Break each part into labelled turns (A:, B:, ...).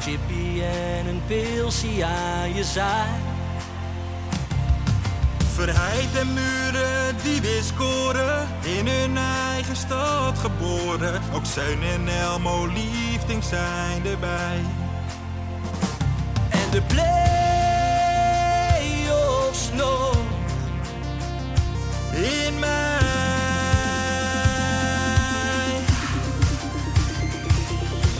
A: Chippy en een pilsie aan je zaai.
B: Verheid en muren die weer scoren, in hun eigen stad geboren. Ook Zeun en Elmo liefdings zijn erbij.
A: En de play-offs nog.
B: In mij.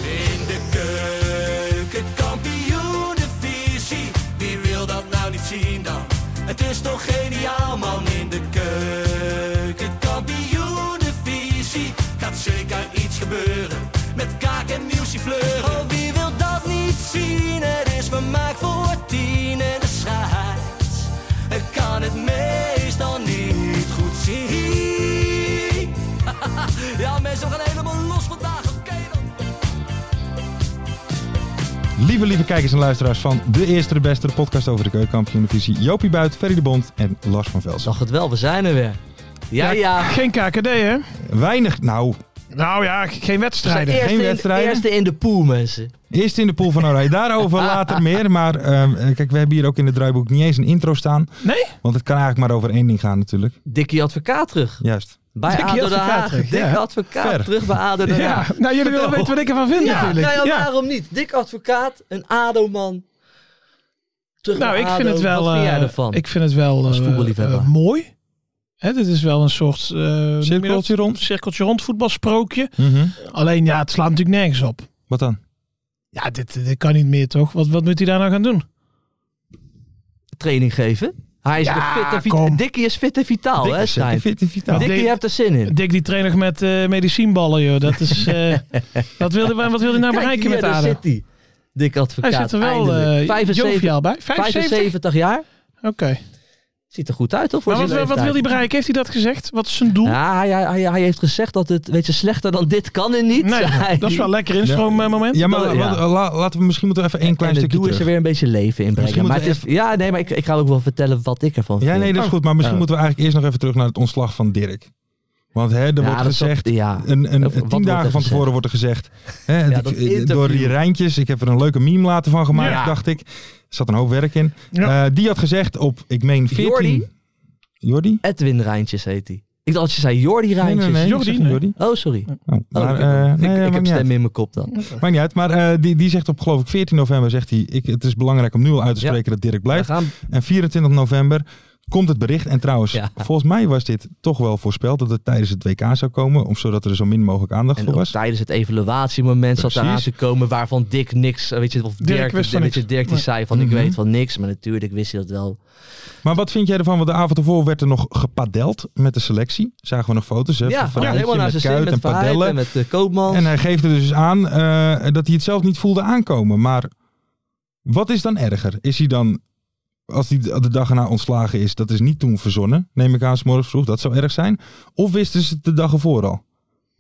A: In de keuken, kampioenenvisie. Wie wil dat nou niet zien dan? Het is toch geniaal man in de keuken, kampioenenvisie. Gaat zeker iets gebeuren met kaak en muziek fleuren. Oh, wie wil dat niet zien? Het is vermaakt voor tien en de scheids. Ik kan het meestal niet goed zien. ja mensen, we gaan helemaal los vandaag, oké dan.
C: Lieve, lieve kijkers en luisteraars van De Eerste de Beste, de podcast over de keukenkampioenvisie. Jopie Buit, Ferry de Bond en Lars van Velsen.
A: Zag het wel, we zijn er weer. Ja, ja.
D: Geen KKD, hè?
C: Weinig, nou,
D: Nou ja, geen wedstrijden.
C: geen
A: Eerste in, de,
C: wedstrijden.
A: eerste in de pool, mensen.
C: eerst in de pool van Oranje. Daarover later meer, maar ehm, eh, kijk, we hebben hier ook in het draaiboek niet eens een intro staan.
D: Nee?
C: Want het kan eigenlijk maar over één ding gaan natuurlijk.
A: Dikkie advocaat terug.
C: Juist.
A: Bij
D: Dikkie
A: ADO Den
D: advocaat
A: Haag.
D: terug,
A: Dikke
D: ja.
A: advocaat
C: Ver.
A: terug bij ADO Den
D: Ja,
A: Haag.
D: nou jullie willen
A: Vertel.
D: weten wat ik ervan vind
A: Ja,
D: natuurlijk.
A: nou ja,
D: ja.
A: waarom niet? Dik advocaat, een ADO-man. Terug
D: Nou,
A: naar
D: ik
A: ADO.
D: vind het wel...
A: Wat vind jij
D: eh,
A: ervan?
D: Ik vind het wel
A: Als
D: eh,
A: voetballiefhebber.
D: eh, mooi. Hè, dit is wel een soort... eh, noem je
C: Cirkeltje
D: dat?
C: rond.
D: Cirkeltje rond, voetbalsprookje.
C: Mhm.
D: Alleen ja, het slaat natuurlijk nergens op.
C: Wat dan?
D: Ja, dit, eh, dit kan niet meer toch? Wat, wat moet hij daar nou gaan doen?
A: Training geven. Hij is
D: Ja,
A: nog fit en vitaal.
D: kom.
A: Dikkie is fit en vitaal,
C: Dikke
A: hè,
C: zeker,
A: Stijn?
C: fit en vitaal.
D: Dik-
A: Dikkie, je hebt er zin in.
D: Dick die trainer met eh, medicijnballen, joh. Dat is... eh, wat wil hij wat wil hij nou
A: Kijk,
D: bereiken
A: hier,
D: met
A: daar
D: ADO?
A: zit hij. Dik
D: Hij
A: advocaat,
D: zit er wel
A: eindelijk.
D: eh
A: 75
D: joviaal bij. 75?
A: 75 jaar.
D: Oké.
A: Ziet er goed uit, hoor, voor
D: Maar wat,
A: zijn
D: wat, wat
A: leeftijd.
D: wil hij bereiken? Heeft hij dat gezegd? Wat is zijn doel?
A: Ja, hij, hij, hij heeft gezegd dat het weet je, slechter dan dit kan en niet.
D: Nee,
A: zei hij.
D: dat is wel een lekker eh, instroommoment.
C: Ja, maar
A: dat- ja.
C: la- la- laten we misschien moeten we even één klein
A: en het
C: stukje
A: doe is er
C: terug.
A: weer een beetje leven in brengen.
C: Misschien
A: Maar het
C: moeten
A: is, ja, nee, maar ik, ik ga ook wel vertellen wat ik ervan
C: Ja,
A: vind. Oh.
C: nee, dat is goed. Maar misschien
A: Ja.
C: moeten we eigenlijk eerst nog even terug naar het ontslag van Dirk. Want hè, er
A: Ja,
C: wordt
A: dat is
C: gezegd,
A: wat- ja.
C: een, een,
A: Of wat
C: tien
A: wordt er
C: dagen van tevoren
A: gezegd?
C: wordt er gezegd. Hè,
A: Ja,
C: ik-
A: dat
C: eh,
A: interview.
C: door die Rijntjes, ik heb er een leuke meme later van gemaakt,
D: Ja.
C: dacht ik. Er zat een hoop werk in.
D: Ja.
C: Eh, die had gezegd op, ik meen 14...
A: Jordi?
C: Jordi?
A: Edwin Rijntjes heet hij. Ik dacht dat je zei Jordi
C: Nee,
A: Rijntjes.
C: nee, nee.
D: Jordi,
C: ik zeg niet
D: nee.
C: Jordi.
A: Oh, sorry. Oh,
C: Oh, maar,
A: ik
C: eh,
A: heb,
C: nee,
A: ik,
C: maakt
A: ik heb
C: niet uit.
A: stem in mijn kop dan.
C: Maakt niet uit, maar eh, die, die zegt op geloof ik 14 november, zegt hij, ik, het is belangrijk om nu al uit te
A: Ja.
C: spreken dat Dirk
A: We
C: blijft.
A: gaan,
C: En 24 november komt het bericht. En trouwens,
A: Ja.
C: volgens mij was dit toch wel voorspeld dat het tijdens het WK zou komen. Om, zodat er zo min mogelijk aandacht
A: en
C: voor
A: ook
C: was.
A: tijdens het evaluatiemoment zat
C: Precies.
A: eraan te komen waarvan Dick niks, eh, weet je, of Dirk,
D: wist van
A: weet je,
D: niks.
A: Dirk die
D: Nee.
A: zei van ik
C: Mhm.
A: weet van niks, maar natuurlijk wist hij dat wel.
C: Maar wat vind jij ervan? Want de avond ervoor werd er nog gepadeld met de selectie. Zagen we nog foto's hè,
A: Ja,
C: van
A: ja,
C: Verheijtje
A: helemaal naar
C: met
A: zijn zin
C: Kuyt
A: met
C: en
A: Verheid
C: padellen.
A: en met de Koopmans.
C: En hij geeft er dus aan eh, dat hij het zelf niet voelde aankomen. Maar wat is dan erger? Is hij dan, als hij de dag erna ontslagen is, dat is niet toen verzonnen. Neem ik aan, 's morgens vroeg, dat zou erg zijn. Of wisten ze het de dag ervoor al?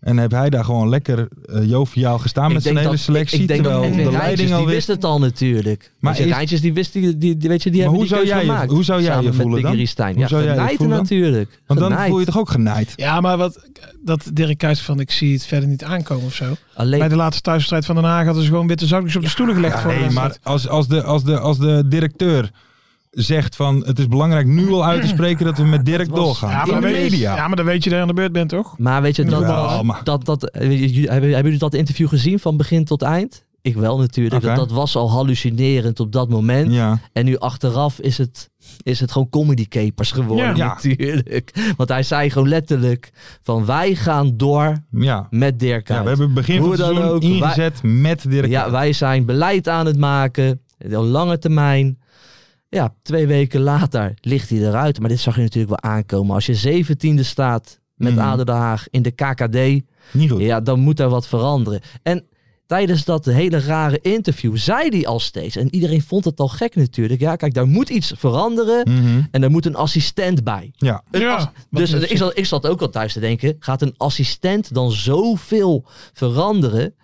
C: En heb hij daar gewoon lekker eh, joviaal gestaan met zijn hele selectie, terwijl
A: Edwin
C: de
A: Rijntjes,
C: leiding al
A: die
C: wist...
A: wist het al natuurlijk.
C: Maar
A: Maar
C: is-
A: Rijntjes die wist die, die, die- weet je, die hebben
C: Maar hoe
A: die
C: zou
A: keuze
C: jij je-
A: gemaakt.
C: hoe zou jij je
A: Samen
C: voelen
A: met
C: dan?
A: Diggery Stijn.
C: Hoe
A: Ja,
C: zou jij je
A: genaaid
C: voelen?
A: natuurlijk.
C: Want dan
A: Genaaid.
C: voel je toch ook genaaid?
D: Ja, maar wat, dat Dirk Kuyt van ik zie het verder niet aankomen of zo.
A: Alleen,
D: Bij de laatste thuisstrijd van Den Haag hadden ze gewoon witte zakjes op de stoelen gelegd. voor de
C: Nee, maar
D: wedstrijd.
C: als, als, de, als, de, als de directeur zegt van het is belangrijk nu al uit te spreken dat we met Dirk
A: was-
C: doorgaan.
D: ja, maar
C: In de
D: dan weet-
C: media.
D: Ja, maar dan weet je dat je aan de beurt bent, toch?
A: maar weet je, dat,
C: Jawel, maar-
A: dat, dat, eh, weet je, jullie- hebben, hebben jullie dat interview gezien van begin tot eind? Ik wel natuurlijk.
C: Oké.
A: Dat, dat was al hallucinerend op dat moment.
C: Ja.
A: En nu achteraf is het, is het gewoon comedy capers geworden
C: Ja.
A: natuurlijk. Want hij zei gewoon letterlijk van wij gaan door
C: Ja.
A: met Dirk
C: ja,
A: Kuyt.
C: we hebben begin van
A: Hoe
C: het
A: dan
C: seizoen
A: ook, wij-
C: ingezet met Dirk.
A: Ja, wij zijn beleid aan het maken. Op lange termijn. Ja, twee weken later ligt hij eruit. Maar dit zag je natuurlijk wel aankomen. Als je zeventiende staat met
C: Mhm.
A: Aden Den Haag in de KKD.
C: Niet goed.
A: Ja, dan moet daar wat veranderen. En tijdens dat hele rare interview zei hij al steeds, en iedereen vond het al gek natuurlijk, ja kijk, daar moet iets veranderen
C: Mhm.
A: en daar moet een assistent bij.
C: Ja.
D: Ja,
A: Dus
D: wat-
A: ik zat, ik zat ook al thuis te denken, gaat een assistent dan zoveel veranderen?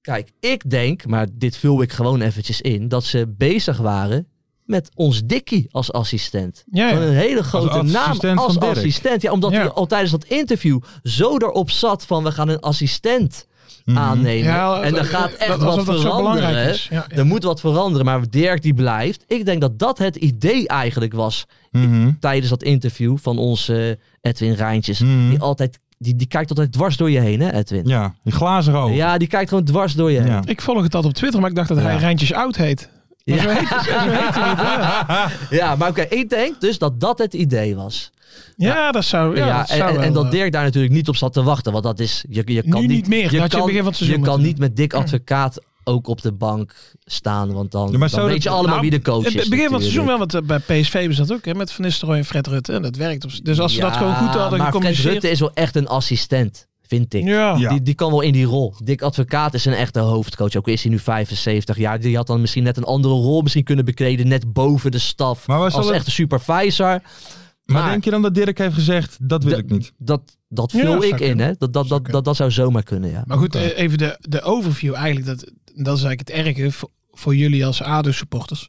A: Kijk, ik denk, maar dit vul ik gewoon eventjes in, dat ze bezig waren met ons Dikkie als assistent.
D: Ja, ja.
A: Gewoon Een hele grote naam
C: assistent
A: als
C: van Dirk.
A: assistent. Ja, omdat
D: Ja.
A: hij al tijdens dat interview zo erop zat van we gaan een assistent
C: Mhm,
A: aannemen.
D: Ja,
A: en er
D: dat-
A: gaat
D: dat-
A: echt
D: alsof
A: wat
D: dat zo belangrijk
A: veranderen.
D: is. Ja, ja.
A: Er moet wat veranderen, maar Dirk die blijft. Ik denk dat dat het idee eigenlijk was
C: Mhm.
A: tijdens dat interview van onze eh, Edwin Rijntjes.
C: Mhm.
A: Die altijd, die, die kijkt altijd dwars door je heen, hè, Edwin?
C: Ja, die glazen
D: Oh.
C: ogen.
A: Ja, die kijkt gewoon dwars door je heen.
C: Ja.
D: Ik volg het altijd op Twitter, maar ik dacht dat hij
A: Ja.
D: Rijntjes Oud heet. Maar
A: Ja.
D: zo heet hij- zo heet hij niet, hè?
A: Ja, maar oké, ik denk dus dat dat het idee was.
D: Ja, dat zou. Oh Ja,
A: Ja,
D: dat
A: en,
D: zou
A: en,
D: wel,
A: en dat
D: eh,
A: Dirk daar natuurlijk niet op zat te wachten. Want dat is. Je, je kan
D: Nu niet meer, dat had je
A: kan,
D: begin van het seizoen
A: je kan
D: moeten
A: niet met dik advocaat ook op de bank staan. Want dan,
C: Ja, maar
A: dan
C: zou
A: weet
C: dat-
A: je allemaal
D: nou,
A: wie de coach
D: Het
A: is.
D: begin van het seizoen
A: natuurlijk.
D: wel, want eh, bij PSV was dat ook, hè, met Van Nistelrooy en Fred Rutte. En dat werkt. Op, dus als ze dat
A: Ja,
D: gewoon goed hadden
A: maar Fred
D: gecommuniceerd.
A: Rutte is wel echt een assistent, vind ik.
D: ja.
C: Ja.
A: Die, die kan wel in die rol. Dick Advocaat is een echte hoofdcoach. Ook al is hij nu 75 jaar. Die had dan misschien net een andere rol misschien kunnen bekleden. Net boven de staf.
C: Maar waar
A: als
C: zal het-
A: echte supervisor.
C: Maar denk je dan dat Dirk heeft gezegd, dat wil
A: Da-
C: ik niet?
A: Dat, dat
D: Ja,
A: vul
D: zou
A: ik in.
D: kunnen.
A: Hè? Dat, dat, dat, dat, dat zou zomaar kunnen, ja.
D: Maar goed, eh, even de, de overview eigenlijk. Dat, dat is eigenlijk het erge voor, voor jullie als ADO-supporters.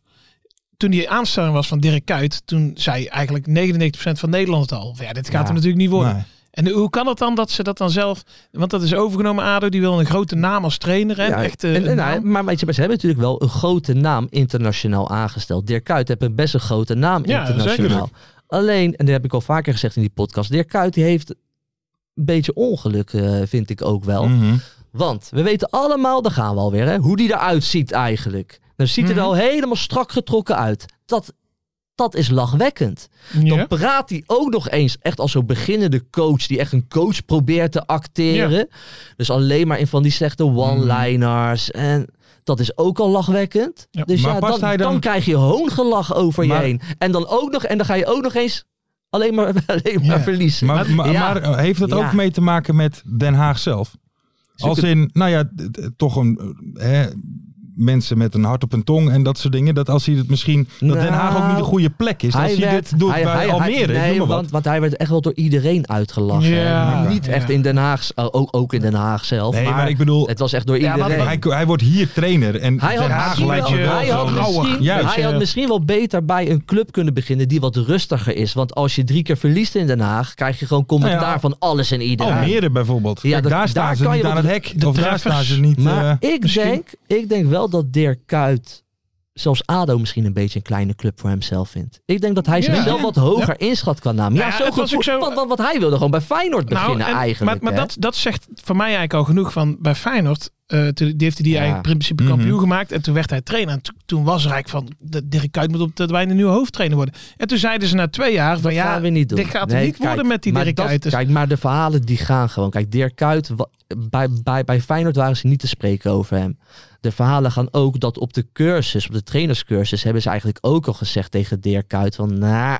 D: Toen die aanstelling was van Dirk Kuyt, toen zei eigenlijk 99% van Nederland het al. van, Ja, dit gaat
A: Ja.
D: hem natuurlijk niet worden.
C: Nee.
D: En hoe kan het dan dat ze dat dan zelf... Want dat is overgenomen, ADO. Die wil een grote naam als trainer. En
A: Ja,
D: echt, eh,
A: en- en
D: een
A: hij-
D: naam.
A: maar weet je, maar ze hebben natuurlijk wel een grote naam internationaal aangesteld. Dirk Kuyt heeft een best een grote naam
D: Ja,
A: internationaal. Alleen, en dat heb ik al vaker gezegd in die podcast, Dirk Kuyt die heeft een beetje ongeluk, eh, vind ik ook wel.
C: Mhm.
A: Want we weten allemaal, daar gaan we alweer, hè, hoe die eruit ziet eigenlijk. Dan ziet
C: Mhm.
A: hij er al helemaal strak getrokken uit. Dat, dat is lachwekkend. Dan
D: Ja.
A: praat hij ook nog eens echt als zo'n beginnende coach. Die echt een coach probeert te acteren. Dus alleen maar in van die slechte one-liners. En dat is ook al lachwekkend.
D: Ja.
A: Dus
C: Mhm. Maar
A: ja,
C: past
A: dan,
C: hij
A: dan...
C: dan-
A: krijg je hoongelach over
C: Maar-
A: je heen. En dan, ook nog, en dan ga je ook nog eens alleen maar, alleen maar
D: Ja.
A: verliezen.
C: Maar, maar,
A: ja.
C: maar eh, heeft dat
A: Ja.
C: ook mee te maken met Den Haag zelf? Als in, nou ja, d- d- toch een, eh, hè, mensen met een hart op een tong en dat soort dingen. Dat als hij het misschien, dat
A: Nou,
C: Den Haag ook niet de goede plek is. Als hij
A: werd-
C: dit doet
A: hij-
C: bij
A: hij- hij-
C: Almere, ik
A: nee,
C: noem maar wat.
A: want, want hij werd echt wel door iedereen uitgelachen.
D: Ja,
A: Niet- Niet
D: ja.
A: echt in Den Haag, oh, ook, ook in Den Haag zelf.
C: Nee,
A: maar,
C: maar, ik bedoel,
A: het was echt door
D: maar-
A: iedereen.
C: hij, hij wordt hier trainer en
A: Hij had,
C: Den Haag
A: misschien
C: lijkt
A: wel,
C: je wel
A: hij, had
C: zo-
A: misschien,
C: Juist,
A: hij
D: ja.
A: had misschien wel beter bij een club kunnen beginnen die wat rustiger is. Want als je drie keer verliest in Den Haag, krijg je gewoon commentaar
C: Nou ja,
A: van alles en iedereen.
C: Almere bijvoorbeeld.
A: Ja,
C: Kijk,
A: dat-
C: daar staan
A: daar
C: ze
A: kan
C: niet
A: je
C: aan het
A: wat-
C: hek.
D: de
C: of daar
D: treffers.
C: staan ze niet...
A: Maar
C: eh,
A: ik,
D: misschien-
A: denk, ik denk wel dat Dirk Kuyt zelfs ADO misschien een beetje een kleine club voor hemzelf vindt. Ik denk dat hij
D: Ja.
A: zichzelf wat hoger inschat kan namen. Ja,
D: Ja,
A: zo
D: het was
A: gevoel-
D: ook zo-
A: want, want, want hij wilde gewoon bij Feyenoord beginnen
D: Nou, en-
A: eigenlijk.
D: Maar, maar
A: hè?
D: dat, dat zegt voor mij eigenlijk al genoeg van bij Feyenoord. eh, toen, die heeft hij die
A: Ja.
D: eigenlijk in principe kampioen gemaakt. En toen werd hij trainer. En to- toen was er eigenlijk van, de, Dirk Kuyt moet op dat wij een nieuwe hoofdtrainer worden. En toen zeiden ze na twee jaar van
A: Dat
D: ja,
A: gaan we niet doen.
D: dit gaat
A: Nee,
D: het niet
A: kijk,
D: worden met die
A: maar
D: Dirk
A: dat-
D: Kuyt. Dus-
A: Kijk, maar de verhalen die gaan gewoon. Kijk, Dirk Kuyt, wa- bij, bij, bij Feyenoord waren ze niet te spreken over hem. De verhalen gaan ook dat op de cursus, op de trainerscursus, hebben ze eigenlijk ook al gezegd tegen Dirk Kuyt van, nou,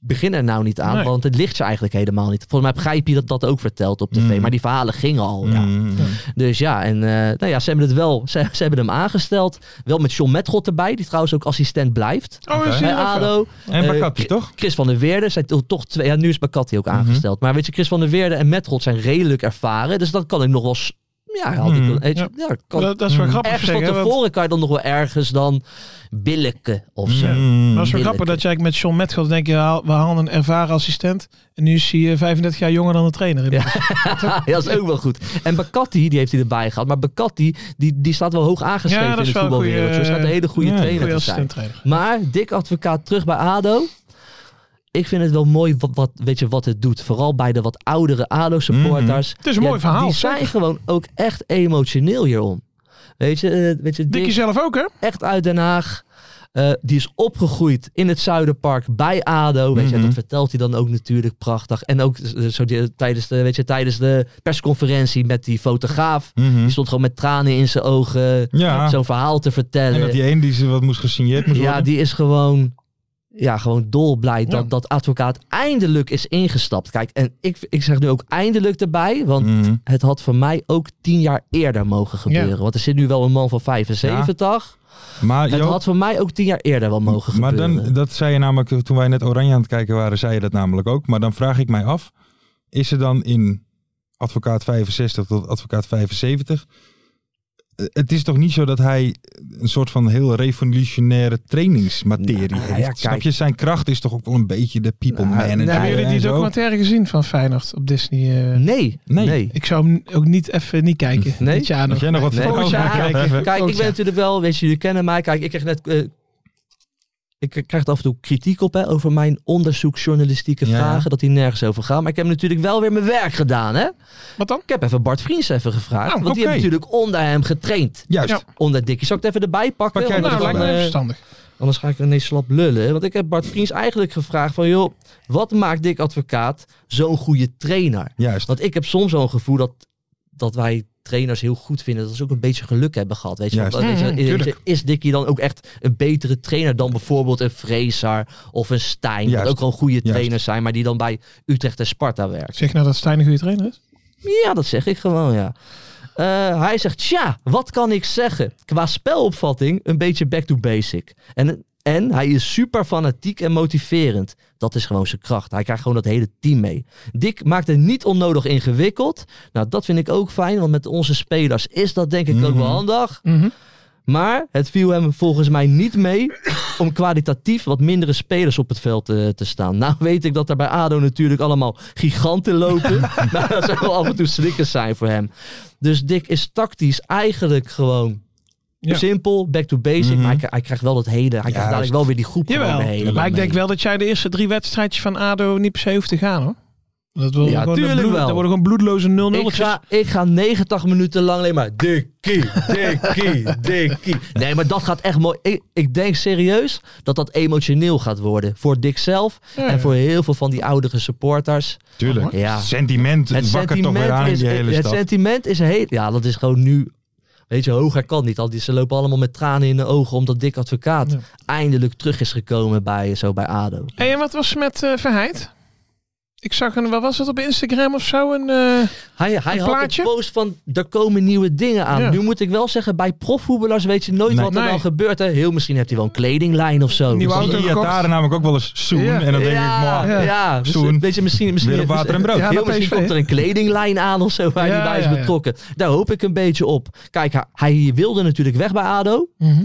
A: begin er nou niet aan,
D: Nee.
A: want het ligt ze eigenlijk helemaal niet. Volgens mij heb Gijpie dat, dat ook verteld op tv,
C: Mm.
A: maar die verhalen gingen al. ja.
C: mm,
A: Dus ja, en eh, nou ja, ze hebben het wel, ze, ze hebben hem aangesteld. Wel met John Metgod erbij, die trouwens ook assistent blijft.
D: oh, is hij
A: Bij
D: er ook wel?
A: ADO.
C: En
A: Eh,
C: Bakatje, toch?
A: Chris van der Weerde zijn to- toch twee. Ja, nu is Bakati
D: Mhm.
A: ook aangesteld. Maar weet je, Chris van der Weerde en Metrold zijn redelijk ervaren. Dus dan kan ik nog wel. s- Ja, had ik
C: Mhm.
A: wel- weet je, ja. kan
D: dat, dat is wel grappig
A: ergens
D: zeg,
A: van
D: hè, want-
A: tevoren kan je dan nog wel ergens dan billijken of zo.
D: Mhm.
C: Mm.
D: dat is wel
A: Billijke.
D: grappig dat jij met John Metgold denk je, haal- we halen een ervaren assistent. En nu is hij eh, 35 jaar jonger dan de trainer.
A: Ja. Ja, dat is ook wel goed. En Bakati, die heeft hij erbij gehad. Maar Bakati, die, die staat wel hoog aangeschreven
D: Ja, dat
A: in
D: is
A: het
D: wel een
A: voetbalwereld.
D: goeie, eh,
A: Dus gaat een hele goede
C: ja,
A: trainer
D: Goeie
A: te zijn.
D: assistent trainer.
A: Maar dik advocaat terug bij ADO. Ik vind het wel mooi wat, wat, weet je, wat het doet. Vooral bij de wat oudere ADO-supporters.
D: Mhm. Het is een mooi verhaal,
A: Die zijn gewoon ook echt emotioneel hierom. Weet je, eh, weet je
D: Dikkie
A: Dick,
D: zelf ook hè?
A: echt uit Den Haag. Eh, die is opgegroeid in het Zuiderpark bij ADO. Weet
D: Mhm.
A: je, en dat vertelt hij dan ook natuurlijk prachtig. En ook eh, zo die- tijdens, de, weet je, tijdens de persconferentie met die fotograaf.
C: Mhm.
A: Die stond gewoon met tranen in zijn ogen
C: Ja.
A: zo'n verhaal te vertellen.
C: En dat die een die ze wat moest gesigneerd moest
A: Ja,
C: worden.
A: die is gewoon ja, gewoon dolblij dat,
D: Ja.
A: dat advocaat eindelijk is ingestapt. Kijk, en ik, ik zeg nu ook eindelijk erbij, want
C: Mhm.
A: het had voor mij ook tien jaar eerder mogen gebeuren.
D: Ja.
A: Want er zit nu wel een man van 75.
C: Maar,
A: Het
C: Joop,
A: had voor mij ook tien jaar eerder wel mogen
C: maar
A: gebeuren.
C: dan, dat zei je namelijk, toen wij net Oranje aan het kijken waren, zei je dat namelijk ook. Maar dan vraag ik mij af, is er dan in advocaat 65 tot advocaat 75... eh, Het is toch niet zo dat hij een soort van heel revolutionaire trainingsmaterie
A: Nou, ja,
C: heeft.
A: kijk.
C: Snap je, zijn kracht is toch ook wel een beetje de people
A: Nou,
C: manager.
A: nou,
D: Hebben jullie
C: en
D: die
C: zo.
D: documentaire gezien van Feyenoord op Disney? eh?
A: nee,
C: Nee.
A: nee.
D: Ik zou hem ook niet even niet kijken.
A: Nee?
D: Dit jaar
C: Had
D: nog.
C: jij nog wat
A: Nee.
C: voor
D: Volgend
A: Ja,
D: jaar
C: Ja,
D: kijken.
A: Kijk, ik
D: Volgend
A: ben
D: jaar.
A: natuurlijk wel, weet je, jullie kennen mij. Kijk, ik krijg net. eh, ik krijg er af en toe kritiek op hè, over mijn onderzoeksjournalistieke
C: Ja.
A: vragen, dat die nergens over gaan. Maar ik heb natuurlijk wel weer mijn werk gedaan, hè?
D: Wat dan?
A: Ik heb even Bart Vriends even gevraagd.
C: Oh,
A: want die
C: oké.
A: heeft natuurlijk onder hem getraind.
C: Juist.
D: Ja.
A: Onder Dikkie. Zal ik het even erbij pakken?
C: Pak jij
A: Want
D: Nou,
C: er
A: dan,
D: lijkt me
A: eh,
D: even verstandig.
A: Anders ga ik ineens slap lullen. Want ik heb Bart Vriends eigenlijk gevraagd van... joh, wat maakt Dick Advocaat zo'n goede trainer?
C: Juist.
A: Want ik heb soms zo'n gevoel dat, dat wij trainers heel goed vinden... dat ze ook een beetje geluk hebben gehad. Weet je? Want,
C: Juist.
A: eh, weet je,
D: Mm,
A: weet je,
D: tuurlijk.
A: is Dickie dan ook echt een betere trainer... dan bijvoorbeeld een Vreesar of een Stijn? Dat
C: Juist.
A: ook gewoon goede
C: Juist.
A: trainers zijn... maar die dan bij Utrecht en Sparta werken.
D: Zeg nou dat Stijn een goede trainer is?
A: Ja, dat zeg ik gewoon, ja. Eh, hij zegt, tja, wat kan ik zeggen? Qua spelopvatting een beetje back to basic. En, en hij is super fanatiek en motiverend. Dat is gewoon zijn kracht. Hij krijgt gewoon dat hele team mee. Dick maakt het niet onnodig ingewikkeld. Nou, dat vind ik ook fijn, want met onze spelers is dat denk ik ook
C: Mhm.
A: wel handig. Maar het viel hem volgens mij niet mee om kwalitatief wat mindere spelers op het veld eh, te staan. Nou weet ik dat er bij ADO natuurlijk allemaal giganten lopen. maar dat zou wel af en toe slikkers zijn voor hem. Dus Dick is tactisch eigenlijk gewoon
D: Ja.
A: simpel, back to basic.
C: Mhm.
A: Maar hij, hij krijgt wel dat hele, hij krijgt dadelijk wel weer die groep
D: Jawel.
A: gewoon mee.
D: maar ik denk wel dat jij de eerste drie wedstrijdjes van ADO niet per se hoeft te gaan hoor. Dat worden
A: Ja,
D: gewoon de
A: tuurlijk
D: bloed-
A: wel.
D: Dat worden gewoon bloedloze 0 0
A: Ik ga, ik ga 90 minuten lang alleen maar dikkie, dikkie, dikkie. Nee, maar dat gaat echt mooi. Ik, ik denk serieus dat dat emotioneel gaat worden. Voor Dick zelf
C: Hmm.
A: en voor heel veel van die oudere supporters.
C: Tuurlijk.
A: Ja.
C: Sentiment
A: Het
C: wakker toch
A: sentiment,
C: weer aan in
A: is,
C: die hele
A: het
C: stad.
A: sentiment is heel... Ja, dat is gewoon nu... Weet je, hoger kan niet. Al die, ze lopen allemaal met tranen in de ogen omdat Dick Advocaat
D: Ja.
A: eindelijk terug is gekomen bij, zo bij ADO.
D: Hey, en wat was er met eh Verheid? Ik zag een, wat was dat op Instagram of zo? Een, eh,
A: Hij, hij
D: Een
A: had
D: plaatje?
A: een post van, er komen nieuwe dingen aan.
D: Ja.
A: Nu moet ik wel zeggen, bij profvoetballers weet je nooit
C: Nee.
A: wat er
D: Nee.
A: dan gebeurt. Hè. Heel misschien heeft hij wel een kledinglijn of zo.
D: Nieuwe
A: Dus-
D: auto.
C: Die
D: gekocht.
C: Iataren namelijk ook wel eens zoen.
D: Ja.
C: En dan denk ik,
A: ja,
C: man,
A: ja, Dus,
C: Zoen.
A: weet je, misschien, misschien,
C: Weer op water en brood.
D: Ja,
A: heel
D: dat
A: misschien
D: PSV,
A: komt er een kledinglijn aan of zo waar
D: Ja,
A: hij bij is
D: ja, ja.
A: betrokken. Daar hoop ik een beetje op. Kijk, hij, hij wilde natuurlijk weg bij ADO.
D: Mhm.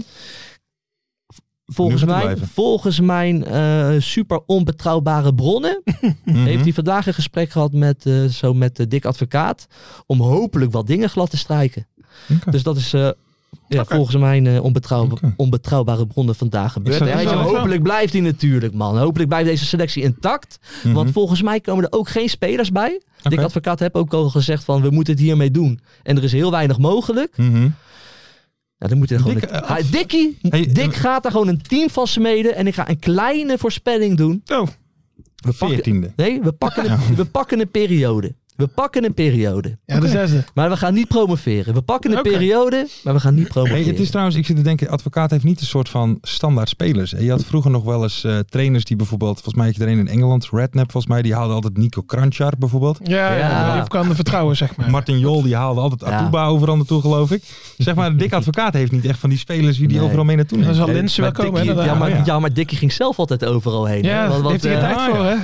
A: Volgens
C: Nu gaat hij
A: mijn,
C: blijven.
A: volgens mijn eh, super onbetrouwbare bronnen
C: mhm.
A: heeft hij vandaag een gesprek gehad met, eh, zo met de Dick Advocaat. Om hopelijk wat dingen glad te strijken.
C: Oké.
A: Dus dat is eh, ja, volgens mijn eh, onbetrouw-
C: Oké.
A: onbetrouwbare bronnen vandaag gebeurd.
C: zou
A: En weet je,
C: zeggen, wel.
A: hopelijk blijft hij natuurlijk, man. Hopelijk blijft deze selectie intact.
C: Mhm.
A: Want volgens mij komen er ook geen spelers bij. Dick
C: Oké.
A: Advocaat heb ook al gezegd van we moeten het hiermee doen. En er is heel weinig mogelijk.
C: Mhm.
A: Ja, dan moet hij gewoon
C: Dick,
A: een-
C: eh,
A: Hij- Dickie,
C: Hey,
A: Dick
C: eh,
A: gaat daar gewoon een team van smeden. En ik ga een kleine voorspelling doen.
C: Oh.
A: We pakken,
C: Veertiende.
A: nee, we pakken, een, we pakken een periode. We pakken een periode.
D: Ja, de zesde.
A: Maar we gaan niet promoveren. We pakken een
D: Oké.
A: periode, maar we gaan niet promoveren.
C: Hey, het is trouwens, ik zit te denken, advocaat heeft niet een soort van standaard spelers. Je had vroeger nog wel eens eh, trainers die bijvoorbeeld, volgens mij had je er een in Engeland, Redknapp volgens mij, die haalde altijd Nico Kranjčar bijvoorbeeld.
D: Ja,
A: Ja.
D: ja. je kan de vertrouwen, zeg maar.
C: Martin Jol die haalde altijd
A: Ja.
C: Atuba overal naartoe geloof ik. Zeg maar, Dick Advocaat heeft niet echt van die spelers die die
A: Nee.
C: overal mee naartoe
D: Dan
C: neemt.
D: zal Linsen wel komen. hè,
A: ja,
D: daarna.
A: maar,
C: ja.
A: ja. maar Dickie ging zelf altijd overal heen. hè?
D: Ja,
A: Want-
D: daar
A: want,
D: heeft hij
A: eh,
D: geen tijd voor, hè?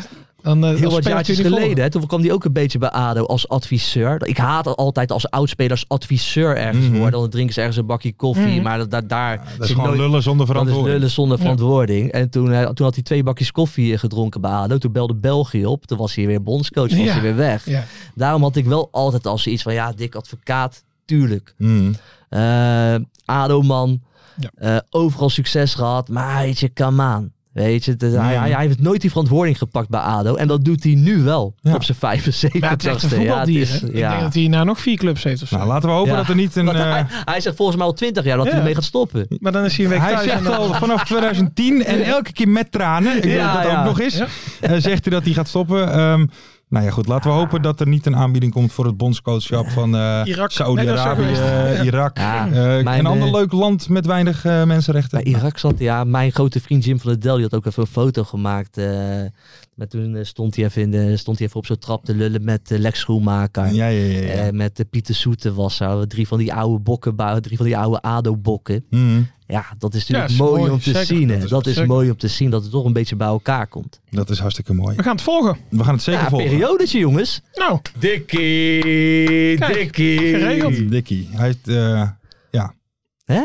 D: Dan, eh,
A: heel
D: dan
A: wat
D: speelt hij
A: jaartjes
D: niet voor.
A: geleden. Hè, toen kwam hij ook een beetje bij ADO als adviseur. Ik haat het altijd als oudspelers adviseur ergens
C: Mhm.
A: worden. Dan drinken ze ergens een bakje koffie.
D: Mhm.
A: Maar dat, dat- daar
C: Dat is
A: zit
C: gewoon
A: nooit-
C: lullen zonder
A: dat is
C: verantwoording.
A: lullen zonder
D: Ja.
A: verantwoording. En toen, eh, toen had hij twee bakjes koffie eh, gedronken bij ADO. Toen belde België op. Toen was hij weer bondscoach. was
D: Ja.
A: hij weer weg.
D: Ja.
A: Daarom had ik wel altijd als iets van... Ja, dik advocaat, tuurlijk.
C: Mhm.
A: Eh, ADO-man.
D: Ja.
A: Eh, overal succes gehad. Maar weet je, come aan. Weet je, het is- hij, hij, hij heeft nooit die verantwoording gepakt bij ADO. En dat doet hij nu wel.
C: Ja.
A: Op zijn
D: Maar het is
A: 75ste.
D: echt een
A: Ja, het
D: voetbaldier.
A: is- eh,
D: hè? Ik
A: ja.
D: denk dat hij nou nog vier clubs heeft of zo.
C: Nou, laten we hopen
A: Ja.
C: dat er niet een...
A: Want hij,
C: eh,
A: hij zegt volgens mij al 20 jaar dat hij
D: Ja.
A: ermee gaat stoppen.
D: maar dan is hij een week
C: Hij
D: thuis. en
C: zegt
D: dan-
C: al vanaf 2010 en elke keer met tranen, ik weet
A: Ja,
C: dat
A: ja.
C: ook nog eens,
D: Ja.
C: eh, zegt hij dat hij gaat stoppen. Ehm, Nou ja, goed. Laten we hopen dat er niet een aanbieding komt voor het bondscoachschap van eh,
D: Irak.
C: Saudi-Arabië,
D: Nee, dat is ook geweest.
C: eh, Irak.
A: Ja,
C: eh,
A: mijn,
C: een ander
A: eh,
C: leuk land met weinig eh, mensenrechten.
A: Bij Irak zat hij, ja, mijn grote vriend Jim van der Del, die had ook even een foto gemaakt. eh, maar toen eh, stond hij even, in de, stond hij even op zo'n trap te lullen met eh, Lex Schoenmaker.
C: Ja, ja, ja. ja.
A: Eh, met de Pieter Soete was er. Drie van die oude bokken, bou- drie van die oude ADO-bokken.
C: Mhm.
A: Ja, dat is natuurlijk
D: Ja, is
A: mooi,
D: mooi,
A: om te
D: zeker.
A: zien. hè.
D: Dat
A: Dat
D: is
A: is,
D: zeker.
A: mooi om te zien dat het toch een beetje bij elkaar komt.
C: Dat is hartstikke mooi.
D: We gaan het volgen.
C: We gaan het zeker
A: ja,
C: volgen.
A: periodetje jongens.
D: Nou,
E: Dikkie,
D: Kijk,
E: dikkie.
D: geregeld.
C: Dikkie. Hij, heeft, eh,
A: Hè?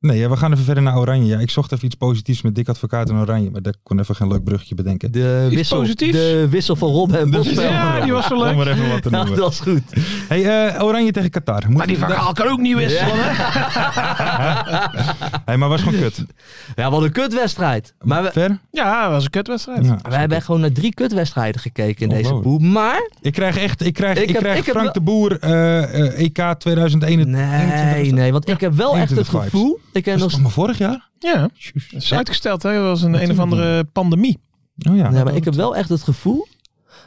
C: nee, ja, we gaan even verder naar Oranje. Ja, ik zocht even iets positiefs met Dick Advocaat en Oranje, maar ik kon even geen leuk bruggetje bedenken.
A: De,
D: Iets
A: wissel,
D: positiefs?
A: de wissel van Rob en Bosveld.
D: ja, die was wel
C: Om
D: leuk.
C: maar even wat te
A: Ja,
C: noemen.
A: dat is goed.
C: Hey, eh, Oranje tegen Qatar. Moet
D: Maar die
C: daar-
D: verhaal kan ook niet wisselen. hè?
C: Hey, maar was gewoon kut.
A: Ja, wat een kutwedstrijd. Maar we,
C: Ver?
D: Ja, dat was een kutwedstrijd.
C: Ja.
A: we hebben gewoon naar drie kutwedstrijden gekeken in deze
C: Ongelooflijk.
A: pool. Maar,
C: Ik krijg echt, ik krijg,
A: Ik
C: ik
A: heb-
C: krijg
A: ik heb
C: Frank
A: wel-
C: de Boer eh, eh, EK 2021.
A: nee, nee. Want ik heb wel echt het
C: 21 vibes.
A: gevoel... Ik heb
C: Was
A: nog
C: het nog maar vorig jaar?
D: Ja, dat is uitgesteld. Hè? Dat was een, een of andere pandemie.
C: Oh ja.
A: Ja, maar ik heb wel echt het gevoel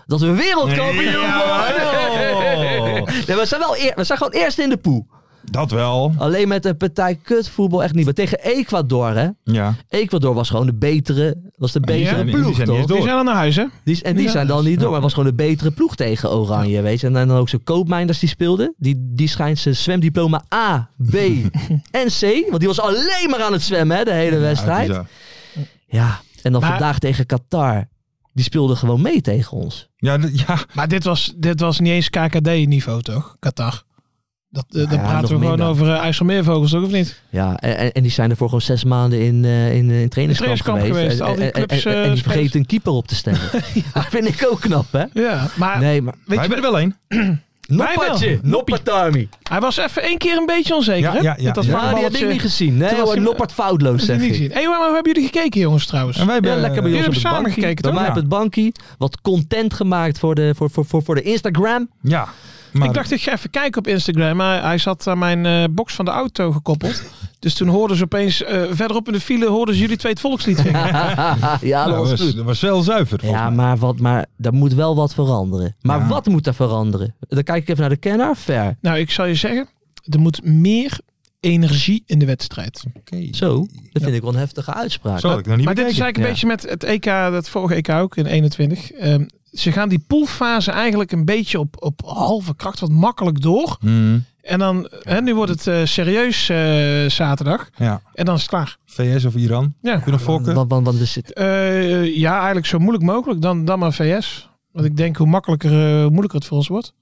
A: dat we wereldkampioen worden. Nee, we, zijn wel eer- we zijn gewoon eerst in de poel.
C: Dat wel.
A: Alleen met een partij kutvoetbal echt niet. Maar tegen Ecuador, hè.
C: Ja.
A: Ecuador was gewoon de betere, was de
D: Ja,
A: betere
C: die- die
A: ploeg,
C: zijn niet
A: toch?
C: eens
D: Die
C: Door.
D: zijn al naar huis, hè?
A: Die is- en die
D: Ja.
A: zijn dan niet door. Maar was gewoon de betere ploeg tegen Oranje, weet je. En dan ook zo'n koopmijnders die speelden. Die, die schijnt zijn zwemdiploma A, B en C. Want die was alleen maar aan het zwemmen, hè, de hele wedstrijd.
C: Ja,
A: Ja, en dan
D: Maar-
A: vandaag tegen Qatar. Die speelden gewoon mee tegen ons.
C: ja, d- ja.
D: Maar dit was, dit was niet eens KKD-niveau, toch? Qatar. Dat, eh, dan
A: ja,
D: praten we
A: nog
D: gewoon
A: minder.
D: over eh, IJsselmeervogels, toch? Of niet?
A: Ja, en, en- en die zijn er voor gewoon zes maanden in, eh in, eh, in trainingskamp,
D: trainingskamp
A: geweest.
D: geweest,
A: En-
D: al die
A: en- en-
D: clubs,
A: En, en
D: eh,
A: die
D: spelers.
A: vergeten een keeper op te stellen. Dat vind ik ook knap, hè?
D: Ja, maar
A: Nee, maar...
C: Wij hebben er wel één.
D: Noppatje,
A: Noppatarmi.
D: hij was even één keer een beetje onzeker,
C: Ja,
D: hè?
C: ja, ja,
D: Met dat
C: ja.
A: Ja, die heb ik
D: voetballetje.
A: niet gezien. Nee,
D: Toen was
A: hoor,
D: je-
A: Noppert foutloos,
D: Dat
A: zeg
D: heb ik niet
A: ik.
D: gezien. Hé, maar hoe hebben jullie gekeken, jongens, trouwens?
C: En wij hebben, eh,
A: Ja, lekker bij
D: Jullie
A: ons op
D: hebben
A: het
D: samen
A: bankie.
D: gekeken,
A: bij
D: toch?
A: mij op
C: Ja.
A: het bankie. Wat content gemaakt voor de, voor, voor, voor, voor de Instagram.
C: Ja. Maar,
D: ik dacht, ik ga even kijken op Instagram. Maar hij zat aan mijn eh, box van de auto gekoppeld. Dus toen hoorden ze opeens, eh, verderop in de file, hoorden ze jullie twee het volkslied zingen.
A: ja, dat
C: nou,
D: dus-
A: was goed.
C: dat was wel zuiver. volgens
A: Ja,
C: mij.
A: maar, wat, maar daar moet wel wat veranderen. Maar
C: Ja.
A: wat moet er veranderen? Dan kijk ik even naar de kenner. Ver.
D: Nou, ik zal je zeggen, er moet meer energie in de wedstrijd.
C: Oké.
A: Zo, dat vind ik wel een heftige uitspraak.
C: Zo had ik nog niet
D: maar dit is
C: bekeken.
D: eigenlijk een beetje met het EK, dat vorige EK ook in 21. Ehm, ze gaan die poolfase eigenlijk een beetje op, op halve kracht wat makkelijk door.
C: Mm,
D: En dan, hè, nu wordt het eh, serieus eh, zaterdag.
C: ja.
D: En dan is het klaar.
C: VS of Iran?
D: Ja.
C: Kunnen fokken?
A: Want, want, dus want er zit
D: Eh, ja, eigenlijk zo moeilijk mogelijk. Dan, dan maar VS. Want ik denk hoe makkelijker, eh, hoe moeilijker het voor ons wordt.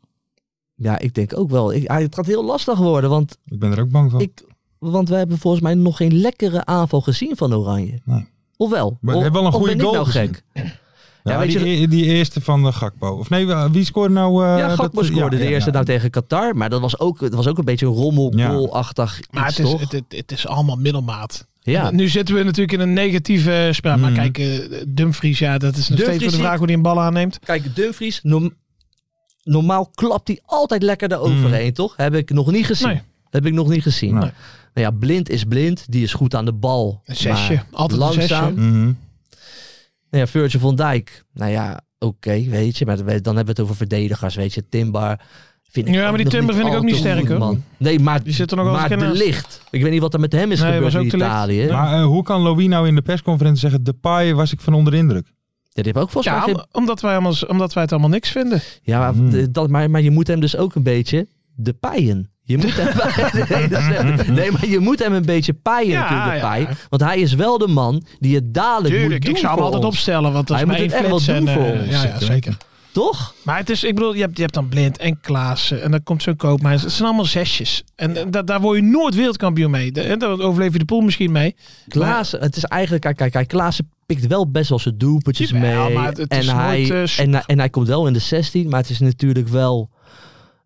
A: Ja, ik denk ook wel. Ik, ah, het gaat heel lastig worden, want,
C: Ik ben er ook bang van.
A: ik, want we hebben volgens mij nog geen lekkere aanval gezien van Oranje.
C: Nee.
A: Of wel?
C: Maar we
A: Of-
C: hebben wel een
A: of
C: goede
A: ben ik
C: goal
A: nou
C: gezien.
A: gek?
C: ja,
A: ja, weet
C: die,
A: je
C: e- die eerste van eh, Gakpo. Of nee, eh, wie scoorde nou? eh,
A: ja, Gakpo
C: dat-
A: scoorde
C: ja,
A: de
C: ja,
A: eerste
C: ja.
A: nou tegen Qatar, maar dat was ook, dat was ook een beetje een
C: Ja.
A: rommel-achtig
D: Maar
A: iets,
D: het is,
A: toch?
D: het, het- het is allemaal middelmaat.
A: ja.
D: Nu zitten we natuurlijk in een negatieve spel. Maar
C: Mm.
D: kijk, eh, Dumfries, ja, dat is nog
A: Dumfries
D: steeds voor de
A: ziet-
D: vraag hoe hij een bal aanneemt.
A: Kijk, Dumfries, norm- normaal klapt hij altijd lekker eroverheen, toch? Heb ik nog niet gezien.
D: Nee.
A: Heb ik nog niet gezien.
C: Mm. Nee.
A: Nou ja, blind is blind. Die is goed aan de bal.
D: Een zesje.
A: maar
D: Altijd een
A: langzaam.
D: zesje.
C: Mhm.
A: Nou ja, Virgil van Dijk. Nou ja, oké, weet je. Maar we- dan hebben we het over verdedigers, weet je. Timbar. Vind ik
D: Ja, maar die
A: nog
D: Timber vind ik
A: al
D: ook niet
A: te
D: sterk,
A: goed,
D: hoor.
A: man. Nee, maar,
D: Die zit er nog wel
A: maar
D: eens
A: de
D: naast.
A: licht. Ik weet niet wat er met hem is
D: Nee,
A: gebeurd
D: was
A: in
D: ook te licht.
A: Italië. Ja.
C: Maar eh, hoe kan Louis nou in de persconferentie zeggen... De paai was ik van onder de indruk?
A: die heeft ook volgens
D: Ja,
A: mij...
D: om-
A: geen-
D: omdat wij, allemaal, omdat wij het allemaal niks vinden.
A: Ja, maar,
C: Hmm.
A: de- dat, maar, maar je moet hem dus ook een beetje de pijen. Je moet hem, nee, nee, maar je moet hem een beetje paaien
D: Ja,
A: natuurlijk, de
D: ja.
A: paai. Want hij is wel de man die het dadelijk moet
D: Tuurlijk,
A: doen
D: ik zou hem
A: voor
D: altijd
A: ons.
D: opstellen. Want dat
A: Hij
D: is maar
A: moet
D: één
A: het echt wel
D: flits en,
A: doen
D: eh,
A: voor ons.
D: ja, ja, zeker.
A: Toch?
D: Maar het is, ik bedoel, je hebt, je hebt dan Blind en Klaassen. En dan komt zo'n Koopmijns. Het zijn allemaal zesjes. En eh, da- daar word je nooit wereldkampioen mee. De- en Daar overleef je de pool misschien mee.
A: Klaassen, het is eigenlijk, kijk, kijk, kijk Klaassen pikt wel best wel zijn doelpuntjes
D: Jawel,
A: mee.
D: maar het- het
A: en,
D: is
A: hij,
D: nooit, eh, super.
A: en, hij- en hij komt wel in de 16, maar het is natuurlijk wel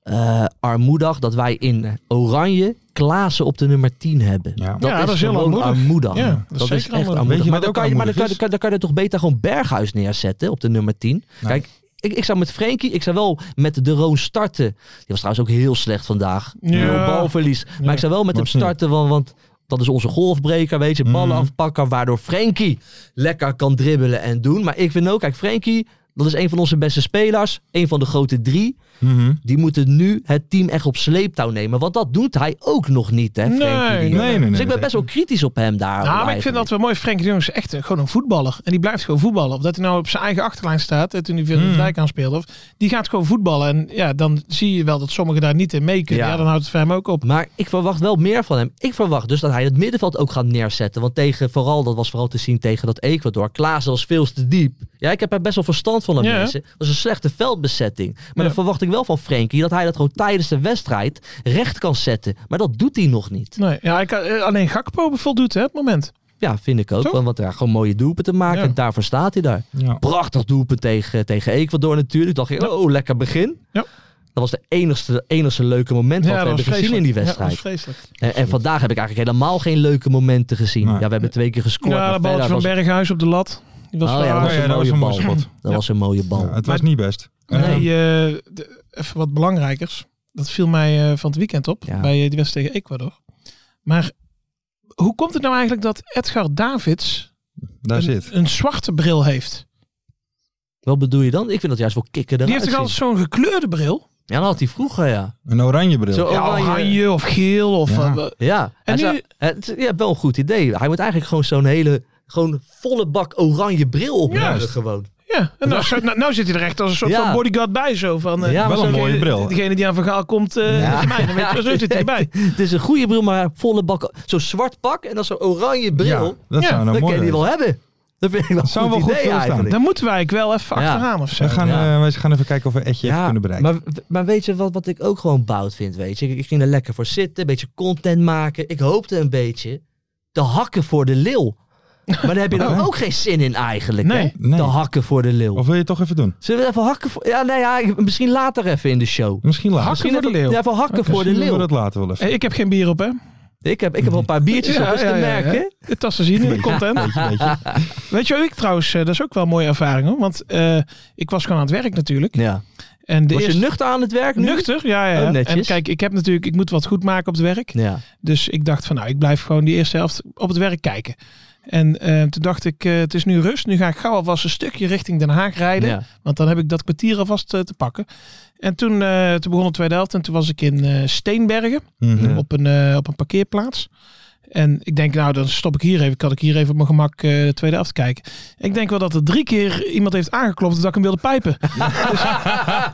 A: eh, armoedig dat wij in Oranje Klaassen op de nummer 10 hebben.
C: Ja.
A: Dat,
D: Ja,
A: is,
D: dat is heel
A: gewoon
D: armoedig.
A: armoedig.
D: Ja, dat is
A: dat
D: zeker
A: is echt
D: armoedig.
A: armoedig.
C: Weet je
A: Maar,
C: wat
A: dan
C: ook
A: kan, je, maar dan,
C: armoedig
A: kan, je- dan kan je toch beter gewoon Berghuis neerzetten op de nummer 10.
C: Nou.
A: Kijk, ik, ik zou met Frenkie, ik zou wel met de Roon starten. Die was trouwens ook heel slecht vandaag.
D: Ja.
A: Nul balverlies. Maar
D: Ja.
A: ik zou wel met hem
C: Was niet.
A: starten, want, want dat is onze golfbreker, weet
D: Mhm.
A: je. Ballen afpakken, waardoor Frenkie lekker kan dribbelen en doen. Maar ik vind ook, kijk, Frenkie, Dat is een van onze beste spelers. Een van de grote drie.
C: Mhm.
A: Die moeten nu het team echt op sleeptouw nemen. Want dat doet hij ook nog niet, hè, Frenkie de
D: Nee,
A: Jong.
C: nee, nee, nee,
A: dus ik ben
C: nee.
A: best wel kritisch op hem daar.
D: Nou, maar ik vind dat wel mooi. Frenkie de Jong is echt een- gewoon een voetballer. En die blijft gewoon voetballen. Of dat hij nou op zijn eigen achterlijn staat. hè, Toen hij Willem
C: Hmm.
D: de Dijk aanspeelde. Of, die gaat gewoon voetballen. En ja, dan zie je wel dat sommigen daar niet in mee kunnen.
A: Ja.
D: Ja, dan houdt het voor hem ook op.
A: Maar ik verwacht wel meer van hem. Ik verwacht dus dat hij het middenveld ook gaat neerzetten. Want tegen, vooral, dat was vooral te zien tegen dat Ecuador. Klaas was veel te diep. Ja, ik heb er best wel verstand van, dat
D: Ja.
A: mensen. Dat is een slechte veldbezetting. Maar dan verwacht ik wel van Frenkie dat hij dat gewoon tijdens de wedstrijd recht kan zetten. Maar dat doet hij nog niet.
D: Nee, ja, ik, eh, alleen Gakpo voldoet hè, het moment.
A: Ja, vind ik ook.
D: Toch?
A: Want, want ja, gewoon mooie doelpunten maken.
D: Ja.
A: En daarvoor staat hij daar.
C: Ja.
A: Prachtig doelpunt tegen, tegen Ecuador natuurlijk. Dacht ik, oh, lekker begin.
D: Ja.
A: Dat was de enigste, enigste leuke moment
D: ja,
A: wat we hebben gezien in die wedstrijd.
D: Ja, dat was vreselijk.
A: En, en vandaag heb ik eigenlijk helemaal geen leuke momenten gezien.
C: Nee.
A: Ja, we hebben twee keer gescoord.
D: Ja,
A: maar
D: de baltje
A: verder
D: van
A: was-
D: Berghuis op de lat. Die was
A: Oh ja,
D: waar.
A: dat was
C: Ja,
A: een
C: ja, dat
A: mooie
C: was een
A: bal.
C: mooie spot.
A: Dat was een mooie bal.
C: Ja, het was niet best.
D: Nee,
C: Eh,
D: eh, de- even wat belangrijkers. Dat viel mij eh, van het weekend op
A: Ja.
D: bij eh, die wedstrijd tegen Ecuador. Maar hoe komt het nou eigenlijk dat Edgar Davids
C: daar
D: een,
C: zit.
D: een zwarte bril heeft?
A: Wat bedoel je dan? Ik vind dat juist wel kicken
D: Die
A: eruit
D: heeft toch altijd
A: zien.
D: zo'n gekleurde bril?
A: Ja, dat had hij vroeger, ja.
C: Een oranje bril.
A: Zo
D: Ja,
A: oranje.
D: oranje of geel of...
C: Ja.
D: eh, wa-
A: Ja,
D: En
A: en
D: nu-
A: nu... het, je hebt wel een goed idee. Hij moet eigenlijk gewoon zo'n hele, gewoon volle bak oranje bril op hebben
D: Juist.
A: gewoon.
D: ja, en nou, zo- nou, nou zit hij er echt als een soort
A: Ja.
D: van bodyguard bij. Zo van, eh,
A: Ja,
C: Wel
A: maar
C: een
A: zo-
C: mooie bril.
D: Degene die aan Van Gaal komt, eh
A: Ja.
D: is mij. Dan weet je, zo zit hij erbij.
A: Het is een goede bril, maar volle bak. Zo'n zwart pak en dan zo'n oranje bril.
C: Ja, dat
D: Ja,
C: zou nou
A: dat kan
C: mooi
A: je die
C: zijn.
A: wel hebben. Dat vind ik wel een
C: Zou
A: goed
C: wel goed
A: idee
C: voor staan.
A: eigenlijk.
D: Dan moeten wij eigenlijk wel even
A: Ja.
D: achteraan of zo.
C: We gaan,
A: Ja.
C: eh, wij gaan even kijken of we Etje even kunnen bereiken.
A: Maar, maar weet je wat, wat ik ook gewoon bout vind, weet je? Ik, ik ging er lekker voor zitten, een beetje content maken. Ik hoopte een beetje te hakken voor de leeuw. Maar daar heb je dan
C: Oh.
A: ook geen zin in eigenlijk,
D: Nee.
A: hè?
C: Nee.
A: Te hakken voor de leeuw.
C: Of wil je het toch even doen?
A: Zullen we even hakken voor... Ja, nou ja, ik- misschien later even in de show.
C: Misschien later.
D: Hakken voor de
A: even,
D: leeuw.
A: Ja, even hakken voor de
C: Misschien doen
A: leeuw.
C: we dat later wel even.
D: Hey, Eh, ik heb geen bier op, hè?
A: Ik, heb, ik heb wel een paar biertjes
D: Ja,
A: op, is
D: ja,
A: te
D: ja,
A: merken.
D: ja. De tassen zien, eh, de content.
C: Beetje, beetje.
D: Weet je wat ik trouwens, eh, dat is ook wel een mooie ervaring hoor. Want eh, ik was gewoon aan het werk natuurlijk.
A: Ja.
D: En de
A: Was je
D: eerste...
A: nuchter aan het werk nu?
D: Nuchter, ja, ja.
A: Oh,
D: ja.
A: netjes.
D: en kijk, ik heb natuurlijk, ik moet wat goed maken op het werk.
A: Ja.
D: Dus ik dacht van, nou, ik blijf gewoon die eerste helft op het werk kijken. En eh, toen dacht ik, eh, het is nu rust. Nu ga ik gauw alvast een stukje richting Den Haag rijden.
A: ja.
D: Want dan heb ik dat kwartier alvast eh, te pakken. En toen, eh, toen begon de tweede helft. En toen was ik in eh, Steenbergen.
C: Mhm.
D: op, een, eh, op een parkeerplaats. En ik denk, nou, dan stop ik hier even. Kan ik hier even op mijn gemak eh, de tweede helft kijken. Ik denk wel dat er drie keer iemand heeft aangeklopt dat ik hem wilde pijpen.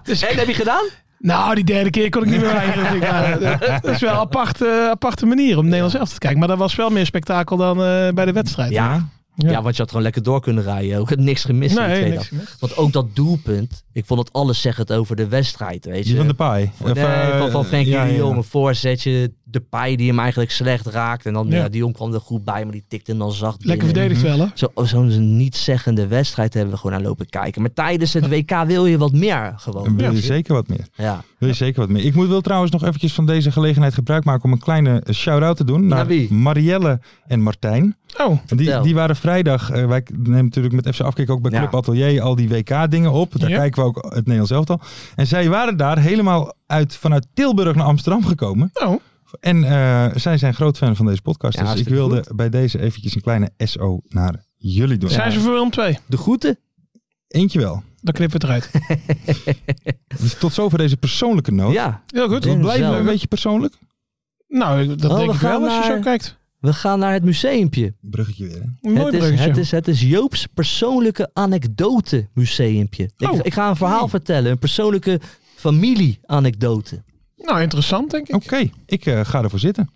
A: Dus, en heb je gedaan?
D: nou, die derde keer kon ik niet meer weigeren. Dus ik, nou, eh, dat is wel een apart, eh, aparte manier om Nederlands zelf te kijken. Maar dat was wel meer spektakel dan eh, bij de wedstrijd.
A: Ja. Ja.
D: Ja.
A: want je had gewoon lekker door kunnen rijden. Ook niks gemist in de
D: nee,
A: tweede
D: niks gemist.
A: Want ook dat doelpunt, ik vond het alles zeggend over de wedstrijd, weet je.
C: Die van de paai. eh,
A: Van- nee, van, van Frenkie de Jong, een voorzetje, de paai die hem eigenlijk slecht raakt. En dan, ja.
D: Ja.
A: de Jong kwam er goed bij, maar die tikte hem dan zacht
D: Lekker
A: binnen.
D: verdedigd wel, hè?
A: Zo- oh, Zo'n niet-zeggende wedstrijd hebben we gewoon aan lopen kijken. Maar tijdens het WK wil je wat meer
C: Dan
A: gewoon.
C: wil je
A: weet je.
C: zeker wat meer.
A: Ja.
C: Wil je zeker wat meer. Ik moet, wil trouwens nog eventjes van deze gelegenheid gebruik maken om een kleine eh, shout-out te doen
A: Naar
C: naar
A: wie?
C: Marielle en Martijn.
D: Oh,
C: Die,
A: Vertel.
C: die waren vrijdag, eh, wij nemen natuurlijk met FC Afkik ook bij
A: Ja.
C: Club Atelier al die WK-dingen op. Daar
D: Ja.
C: kijken we ook het Nederlands elftal. En zij waren daar helemaal uit, vanuit Tilburg naar Amsterdam gekomen.
D: oh.
C: En eh, zij zijn groot fan van deze podcast.
A: Ja,
C: dus ik
A: hartstikke
C: wilde bij deze eventjes een kleine SO naar jullie doen.
D: zijn ze voor Willem 2?
A: De groeten.
C: Eentje wel.
D: Dan knippen we het eruit.
C: Dus tot zover deze persoonlijke noot.
A: Ja,
D: Heel goed.
A: Ja.
C: Wat blijven we
A: Zelf.
C: een beetje persoonlijk?
D: Nou, ik- dat
A: Oh,
D: denk
A: we
D: ik wel
A: gaan
D: als je
A: naar-
D: zo kijkt.
A: we gaan naar het museumpje.
C: Bruggetje weer. hè?
D: Een mooi
A: Het is,
D: bruggetje.
A: het, is, het is Joop's persoonlijke anekdote museumpje.
D: Oh.
A: Ik, ik ga een verhaal vertellen, een persoonlijke familie-anekdote.
D: Nou, interessant denk ik.
A: Oh.
C: Oké, ik eh, ga ervoor zitten.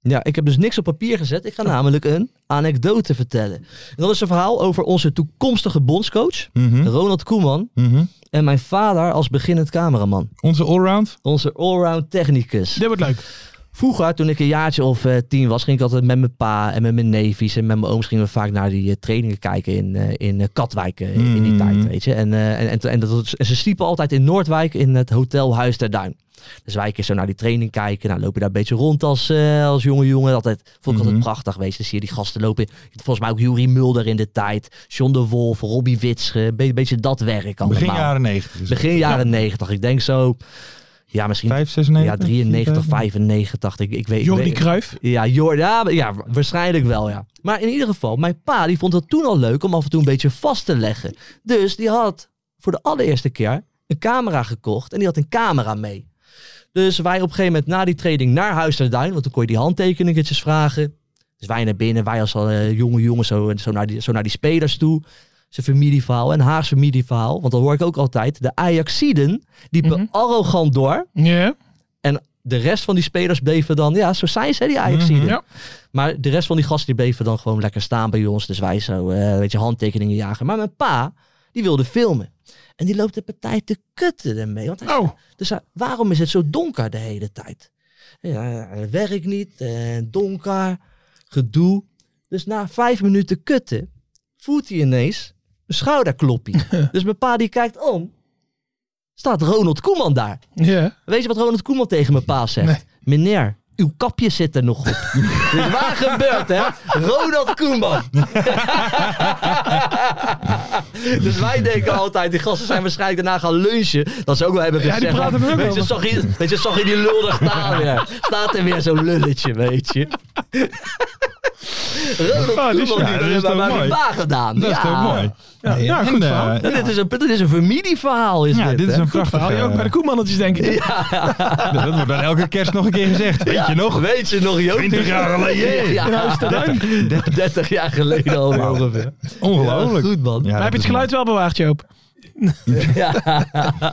A: Ja, ik heb dus niks op papier gezet.
D: Oh.
A: Ik ga namelijk een anekdote vertellen. En dat is een verhaal over onze toekomstige bondscoach,
D: Hm?
C: Mhm,
A: Ronald Koeman,
C: mhm.
A: en mijn vader als beginnend cameraman.
C: Onze allround.
A: Onze allround technicus.
D: Dit wordt leuk.
A: Vroeger, toen ik een jaartje of eh, tien was, ging ik altijd met mijn pa en met mijn neefjes en met mijn ooms gingen we vaak naar die eh, trainingen kijken in, eh, in eh, Katwijk eh, in die
C: Mm.
A: tijd, weet je. En, eh, en, en, en dat, was- en ze sliepen altijd in Noordwijk in het hotel Huis ter Duin. Dus wij een keer zo naar die training kijken. Nou, loop je daar een beetje rond als, eh, als jonge jongen. Altijd, vond ik altijd
C: Mhm.
A: prachtig, weet je. Dan zie je die gasten lopen. Volgens mij ook Jurie Mulder in de tijd. John de Wolf, Robbie Witsche. Een be- beetje dat werk allemaal.
C: Begin jaren 90. is het.
A: Begin jaren negentig. Ik denk zo... Ja, misschien
C: 5, 96?
A: ja, 93, 95. Ik, ik weet,
D: Jordi
A: weet-
D: Cruijff.
A: Ja, Jordi, ja, maar- ja, waarschijnlijk wel, ja. Maar in ieder geval, mijn pa die vond het toen al leuk om af en toe een beetje vast te leggen. Dus die had voor de allereerste keer een camera gekocht. En die had een camera mee. Dus wij op een gegeven moment na die training naar Huis naar de Duin. Want toen kon je die handtekeningetjes vragen. Dus wij naar binnen, wij als eh, jonge jongens zo, en zo, naar die, zo naar die spelers toe. Zijn familieverhaal en Haags familieverhaal. Want dat hoor ik ook altijd. De Ajaxiden liepen
D: Mhm.
A: arrogant door.
D: Ja.
A: De rest van die spelers bleven dan... Ja, zo zijn ze, hè, die Ajaxiden.
D: Mhm. Ja.
A: Maar de rest van die gasten die bleven dan gewoon lekker staan bij ons. Dus wij zo eh, een beetje handtekeningen jagen. Maar mijn pa, die wilde filmen. En die loopt de partij te kutten ermee. Want hij
D: Oh,
A: dus hij- waarom is het zo donker de hele tijd? Ja, eh, werk niet, eh, donker, gedoe. Dus na vijf minuten kutten voelt hij ineens een schouderkloppie. dus mijn pa die kijkt om, staat Ronald Koeman daar.
D: ja.
A: Weet je wat Ronald Koeman tegen mijn pa zegt? Meneer, uw kapje zit er nog op. dus waar gebeurt hè? Ronald Koeman. dus wij denken altijd, die gasten zijn waarschijnlijk daarna gaan lunchen. Dat ze ook wel hebben
D: Ja, die
A: gezegd.
D: praten er ook
A: weet, je,
D: over.
A: zag je, weet je, zag je die lul daar staan weer. Staat er weer zo'n lulletje, weet je. Ronald
D: Ah, die is-
A: Koeman,
D: ja,
A: die
C: dat is
A: hebben
C: toch
A: we bij
C: mooi?
A: mijn pa gedaan.
C: Dat is
A: ja.
C: toch mooi.
D: Ja, ja, goed
C: eh,
D: verhaal.
A: Ja, Dit, is een, dit is een familieverhaal. Is
C: ja, dit,
A: dit
C: is
A: hè?
C: een
D: Goed
C: prachtig
D: verhaal. Je
A: eh,
D: ook bij de koemannetjes, denk ik.
C: Dat wordt dan elke kerst nog een keer gezegd. Weet je nog?
A: Weet je nog, Joop?
C: 20 jaar geleden.
A: Ja, ja. 30, jaar geleden al ongeveer.
C: Ongelooflijk.
A: Ja, goed, man.
C: Ja,
D: Maar heb je
C: dat
D: het
C: is
D: geluid wel bewaard, Joop?
A: Ja.
C: mooi. Ja,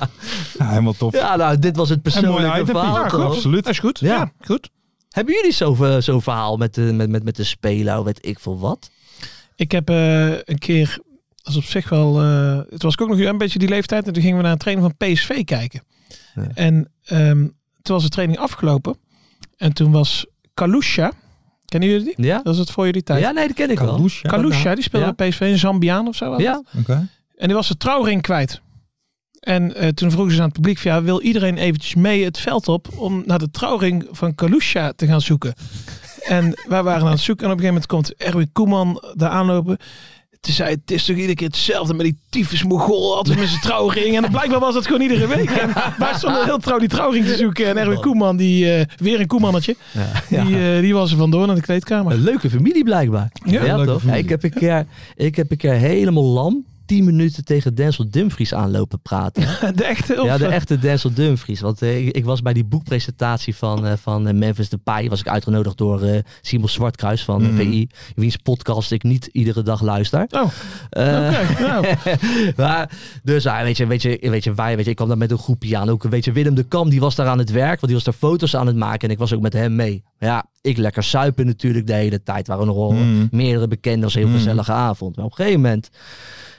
C: helemaal top.
A: ja, nou, dit was het
C: Een mooi
A: persoonlijke
C: item.
A: verhaal.
C: Ja, goed,
A: toch?
C: absoluut.
D: Dat is goed.
A: Ja.
D: Ja, goed.
A: Hebben jullie zo'n zo eh, zo'n verhaal met de, met, met, met de speler, of weet ik veel wat?
D: Ik heb eh, een keer, dat is op zich wel, eh, het was ook nog een beetje die leeftijd. En toen gingen we naar een training van PSV kijken.
A: Ja.
D: En ehm, toen was de training afgelopen. En toen was Kalusha, kennen jullie die?
A: Ja?
D: Dat is het voor jullie tijd.
A: Ja, nee, dat ken ik wel.
C: Kalusha.
D: Kalusha, die speelde
A: Ja.
D: bij PSV, een Zambiaan of zo. was
A: Ja,
D: het. En die was de trouwring kwijt. En eh, toen vroegen ze aan het publiek, van, ja, wil iedereen eventjes mee het veld op om naar de trouwring van Kalusha te gaan zoeken? en wij waren aan het zoeken en op een gegeven moment komt Erwin Koeman daar aanlopen. Toen zei hij, het is toch iedere keer hetzelfde met die tyfus mogol altijd met zijn trouwring. En blijkbaar was dat gewoon iedere week. En wij stonden heel trouw die trouwring te zoeken. En Erwin Koeman, die, eh, weer een Koemannetje, Die, eh, die was er vandoor naar de kleedkamer.
A: Een leuke familie blijkbaar.
D: Ja,
C: leuke
A: toch?
C: familie.
A: Ik, heb een keer, ik heb een keer helemaal lam 10 minuten tegen Denzel Dumfries aanlopen praten.
D: De echte? Of,
A: Ja, de
D: eh,
A: echte Denzel Dumfries. Want eh, ik, ik was bij die boekpresentatie van, eh, van eh, Memphis Depay. Was ik uitgenodigd door eh, Simon Zwartkruis van eh, VI. Wiens podcast ik niet iedere dag luister.
D: Oh,
A: Eh,
D: oké. nou.
A: maar, dus ah, weet, je, weet, je, weet je, wij, weet je, ik kwam daar met een groepje aan. Ook weet je, Willem de Kam, die was daar aan het werk, want die was daar foto's aan het maken en ik was ook met hem mee. Ja, ik lekker suipen natuurlijk de hele tijd. Waren nog wel
C: Mm.
A: meerdere bekenden, was een heel gezellige avond. Maar op een gegeven moment,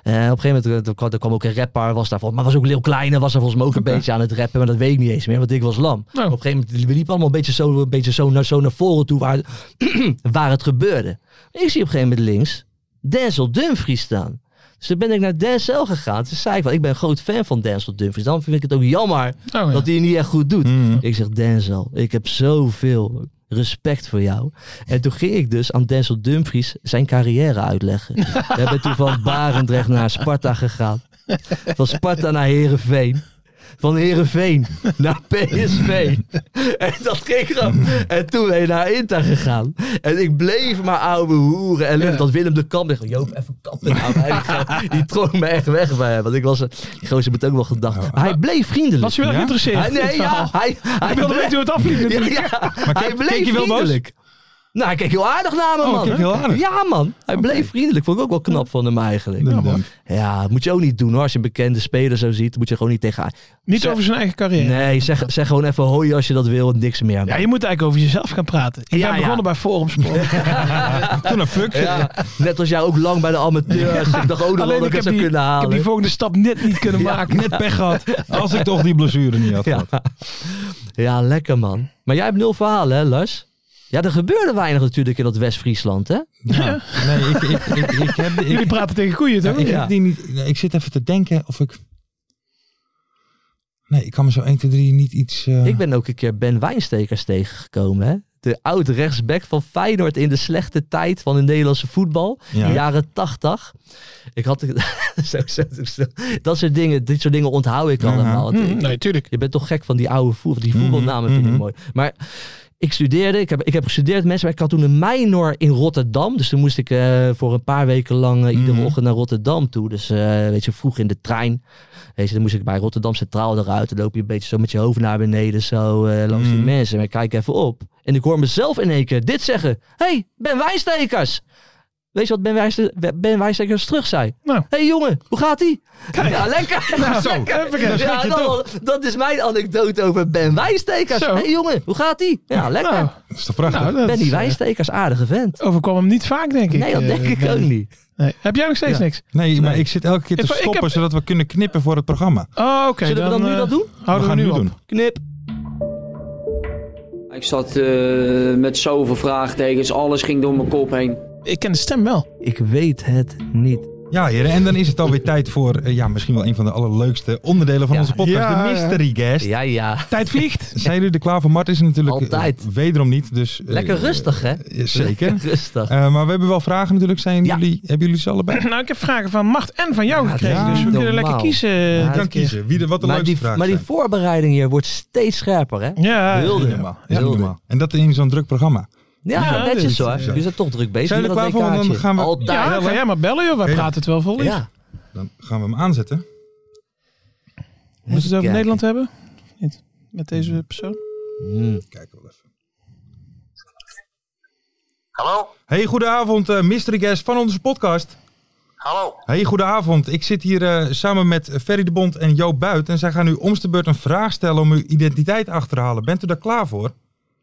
A: eh, op een gegeven moment eh, er kwam, er kwam ook een rapper, was daar vol- maar was ook Leeuw Kleine, was daar volgens mij ook een beetje aan het rappen, maar dat weet ik niet eens meer, want ik was lam.
D: Nou.
A: Op een gegeven moment we liepen allemaal een beetje zo, een beetje zo, naar, zo naar voren toe waar, waar het gebeurde. Ik zie op een gegeven moment links Denzel Dumfries staan. Dus toen ben ik naar Denzel gegaan. Toen zei ik, wel, ik ben een groot fan van Denzel Dumfries. Dan vind ik het ook jammer
D: Oh, ja. Mhm.
A: dat hij het niet echt goed doet. Ik zeg, Denzel, ik heb zoveel respect voor jou. En toen ging ik dus aan Denzel Dumfries zijn carrière uitleggen. We hebben toen van Barendrecht naar Sparta gegaan. Van Sparta naar Herenveen. Van Herenveen naar PSV. En dat ging gewoon. En toen ben je naar Inter gegaan. En ik bleef maar ouwe hoeren. En lullen
D: Ja.
A: dat Willem de Kamp dacht, Joop, even kappen. Nou, Maar hij- die trok me echt weg bij hem. Want ik was, een- die gozer moet ook wel gedacht. Maar hij bleef vriendelijk.
D: Was je wel
C: Ja?
D: geïnteresseerd?
A: Hij,
D: in het
A: nee, ja,
D: verhaal?
A: hij, hij
D: Ik wilde weten hoe het afliep
A: Ja,
D: natuurlijk.
A: ja. hij
C: keek-
A: bleef
C: keek je wel boos?
A: vriendelijk. Nou, hij keek heel aardig naar me,
C: Oh,
A: man.
C: keek heel aardig.
A: Ja, man. Hij bleef vriendelijk. Vond ik ook wel knap van hem eigenlijk.
C: Ja, man.
A: Ja, moet je ook niet doen hoor. Als je een bekende speler zo ziet, moet je gewoon niet tegen...
D: Niet
A: Zeg-
D: over zijn eigen carrière.
A: Nee, zeg, zeg gewoon even hoi als je dat wil en niks meer.
D: Ja, je moet eigenlijk over jezelf gaan praten. Ik
A: Ja,
D: ben
A: ja.
D: begonnen bij forumsport.
C: Toen een fuck.
A: Ja, net als jij ook lang bij de amateurs. Ik dacht ook nog wel
D: Alleen
A: dat ik het
D: ik heb,
A: zou
D: die, ik
A: kunnen
D: heb
A: halen.
D: die volgende stap net niet kunnen maken. Net pech gehad.
C: Als ik toch die blessure niet had
A: Ja.
C: gehad.
A: ja, lekker man. Maar jij hebt nul verhalen hè, Lars? Ja, er gebeurde weinig natuurlijk in dat West-Friesland, hè?
C: Ja. Nee, ik, ik, ik, ik heb... Ik,
D: Jullie praten tegen koeien,
C: ja,
D: toch?
C: ik, heb die niet, nee, ik zit even te denken of ik... Nee, ik kan me zo 1, 2, 3 niet iets... eh,
A: Ik ben ook een keer Ben Wijnstekers tegengekomen, hè? De oud-rechtsback van Feyenoord in de slechte tijd van het Nederlandse voetbal.
C: Ja.
A: Jaren tachtig. Ik had... zo, zo, zo. Dat soort dingen, dit soort dingen onthoud ik allemaal. Want
D: Hm, nee, tuurlijk.
A: Je bent toch gek van die oude voetbal. Die voetbalnamen vind ik
C: mhm.
A: mooi. Maar Ik studeerde, ik heb, ik heb gestudeerd mensen, maar ik had toen een minor in Rotterdam. Dus toen moest ik eh, voor een paar weken lang eh, iedere
C: Mhm.
A: ochtend naar Rotterdam toe. Dus eh, weet je, vroeg in de trein. Weet je, dan moest ik bij Rotterdam Centraal eruit. Dan loop je een beetje zo met je hoofd naar beneden, zo eh, langs die
C: Mhm.
A: mensen. Maar ik kijk even op. En ik hoor mezelf in één keer dit zeggen. hey, Ben Wijnstekers! Weet je wat Ben, Wijnste- ben Wijnstekers terug zei?
D: Nou.
A: hey, jongen, hoe gaat-ie? Ja, lekker!
D: Nou, zo.
A: Lekker.
D: Heb ik het.
A: Ja,
D: Dat weet je
A: dat, dat is mijn anekdote over Ben Wijnstekers.
D: Zo.
A: hey, jongen, hoe gaat-ie? Ja, lekker.
D: Nou,
C: Dat is toch prachtig?
D: nou, dat
A: Benny
D: is, eh,
A: Wijnstekers, aardige vent.
D: overkwam hem niet vaak, denk ik.
A: Nee, dat
D: eh,
A: denk ik
D: Benny.
A: ook niet.
D: Nee. Heb jij nog steeds
A: Ja.
D: niks?
C: nee, maar ik zit elke keer te
D: Ik- ik
C: stoppen
D: heb-
C: zodat we kunnen knippen voor het programma.
D: Oh, oké.
A: Zullen we dan nu
D: eh,
A: dat doen?
D: Houden we,
C: gaan
D: nu op.
C: doen.
A: Knip.
F: Ik zat eh, met zoveel vraagtekens, alles ging door mijn kop heen.
D: Ik ken de stem wel.
A: Ik weet het niet.
C: Ja, heren, en dan is het alweer tijd voor eh, ja, misschien wel een van de allerleukste onderdelen van
A: Ja.
C: onze podcast,
D: Ja,
C: de Mystery Guest.
A: Ja, ja.
D: Tijd vliegt.
C: Zijn jullie er klaar voor? Mart is er natuurlijk eh,
A: Altijd.
C: wederom niet. Dus, eh,
A: Lekker rustig, hè?
C: eh, zeker.
A: Lekker rustig.
C: Eh, maar we hebben wel vragen natuurlijk. Zijn
A: Ja.
C: jullie, hebben jullie ze allebei?
D: nou, ik heb vragen van Macht en van jou
A: Ja,
D: gekregen.
C: dat is
D: dus we
C: niet
D: kunnen lekker
A: normaal.
D: kiezen.
A: Ja,
D: dit
C: Je kan
D: keer.
C: kiezen. Wie de, wat de
A: Maar
C: leukste
A: die,
C: vraag
A: maar die
C: zijn.
A: voorbereiding hier wordt steeds scherper, hè?
D: Ja,
A: Heel
C: Ja,
A: de-
C: helemaal. Is
A: Heel
C: niet normaal. En dat in zo'n druk programma.
A: Ja,
D: Ja,
A: netjes
D: dus,
A: hoor.
D: ja.
A: Jullie zijn toch druk bezig
C: Zijn
A: met
C: jullie
A: dat
C: klaar voor? Want dan
A: WK'tje.
C: gaan we-
A: Altijd.
D: Ja, ga jij maar bellen, joh. Wij
C: Ja.
D: praten het wel vol. Ja.
A: Ja.
C: Dan gaan we hem aanzetten.
D: Moeten we het over
A: Kijken.
D: Nederland hebben? Niet. Met deze persoon?
A: Hmm.
C: Kijken we wel even. Hallo? Hey, goedenavond, eh mystery guest van onze podcast. Hallo. Hey, goedenavond. Ik zit hier eh, samen met Ferry de Bond en Joop Buit. En zij gaan u om de beurt een vraag stellen om uw identiteit achter te halen. Bent u daar klaar voor?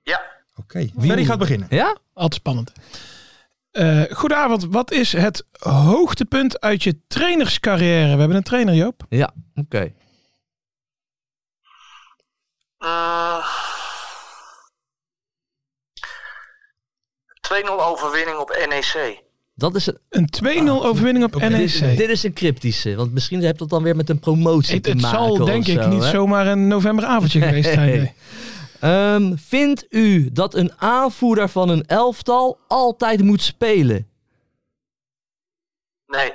C: Ja. Oké, Ferry gaat beginnen.
A: Ja?
D: Altijd spannend. Eh, goedenavond. Wat is het hoogtepunt uit je trainerscarrière? We hebben een trainer, Joop.
A: Ja, oké.
G: Eh, 2-0 overwinning op E NEC.
A: Dat is een,
D: Een 2-0 overwinning op E NEC.
A: Ah, dit, dit is een cryptische, want misschien hebt dat dan weer met een promotie
D: Het,
A: te
D: het
A: maken.
D: zal
A: of
D: denk ik
A: zo,
D: niet
A: hè?
D: zomaar een novemberavondje geweest zijn. nee.
A: Ehm, vindt u dat een aanvoerder van een elftal altijd moet spelen?
G: Nee.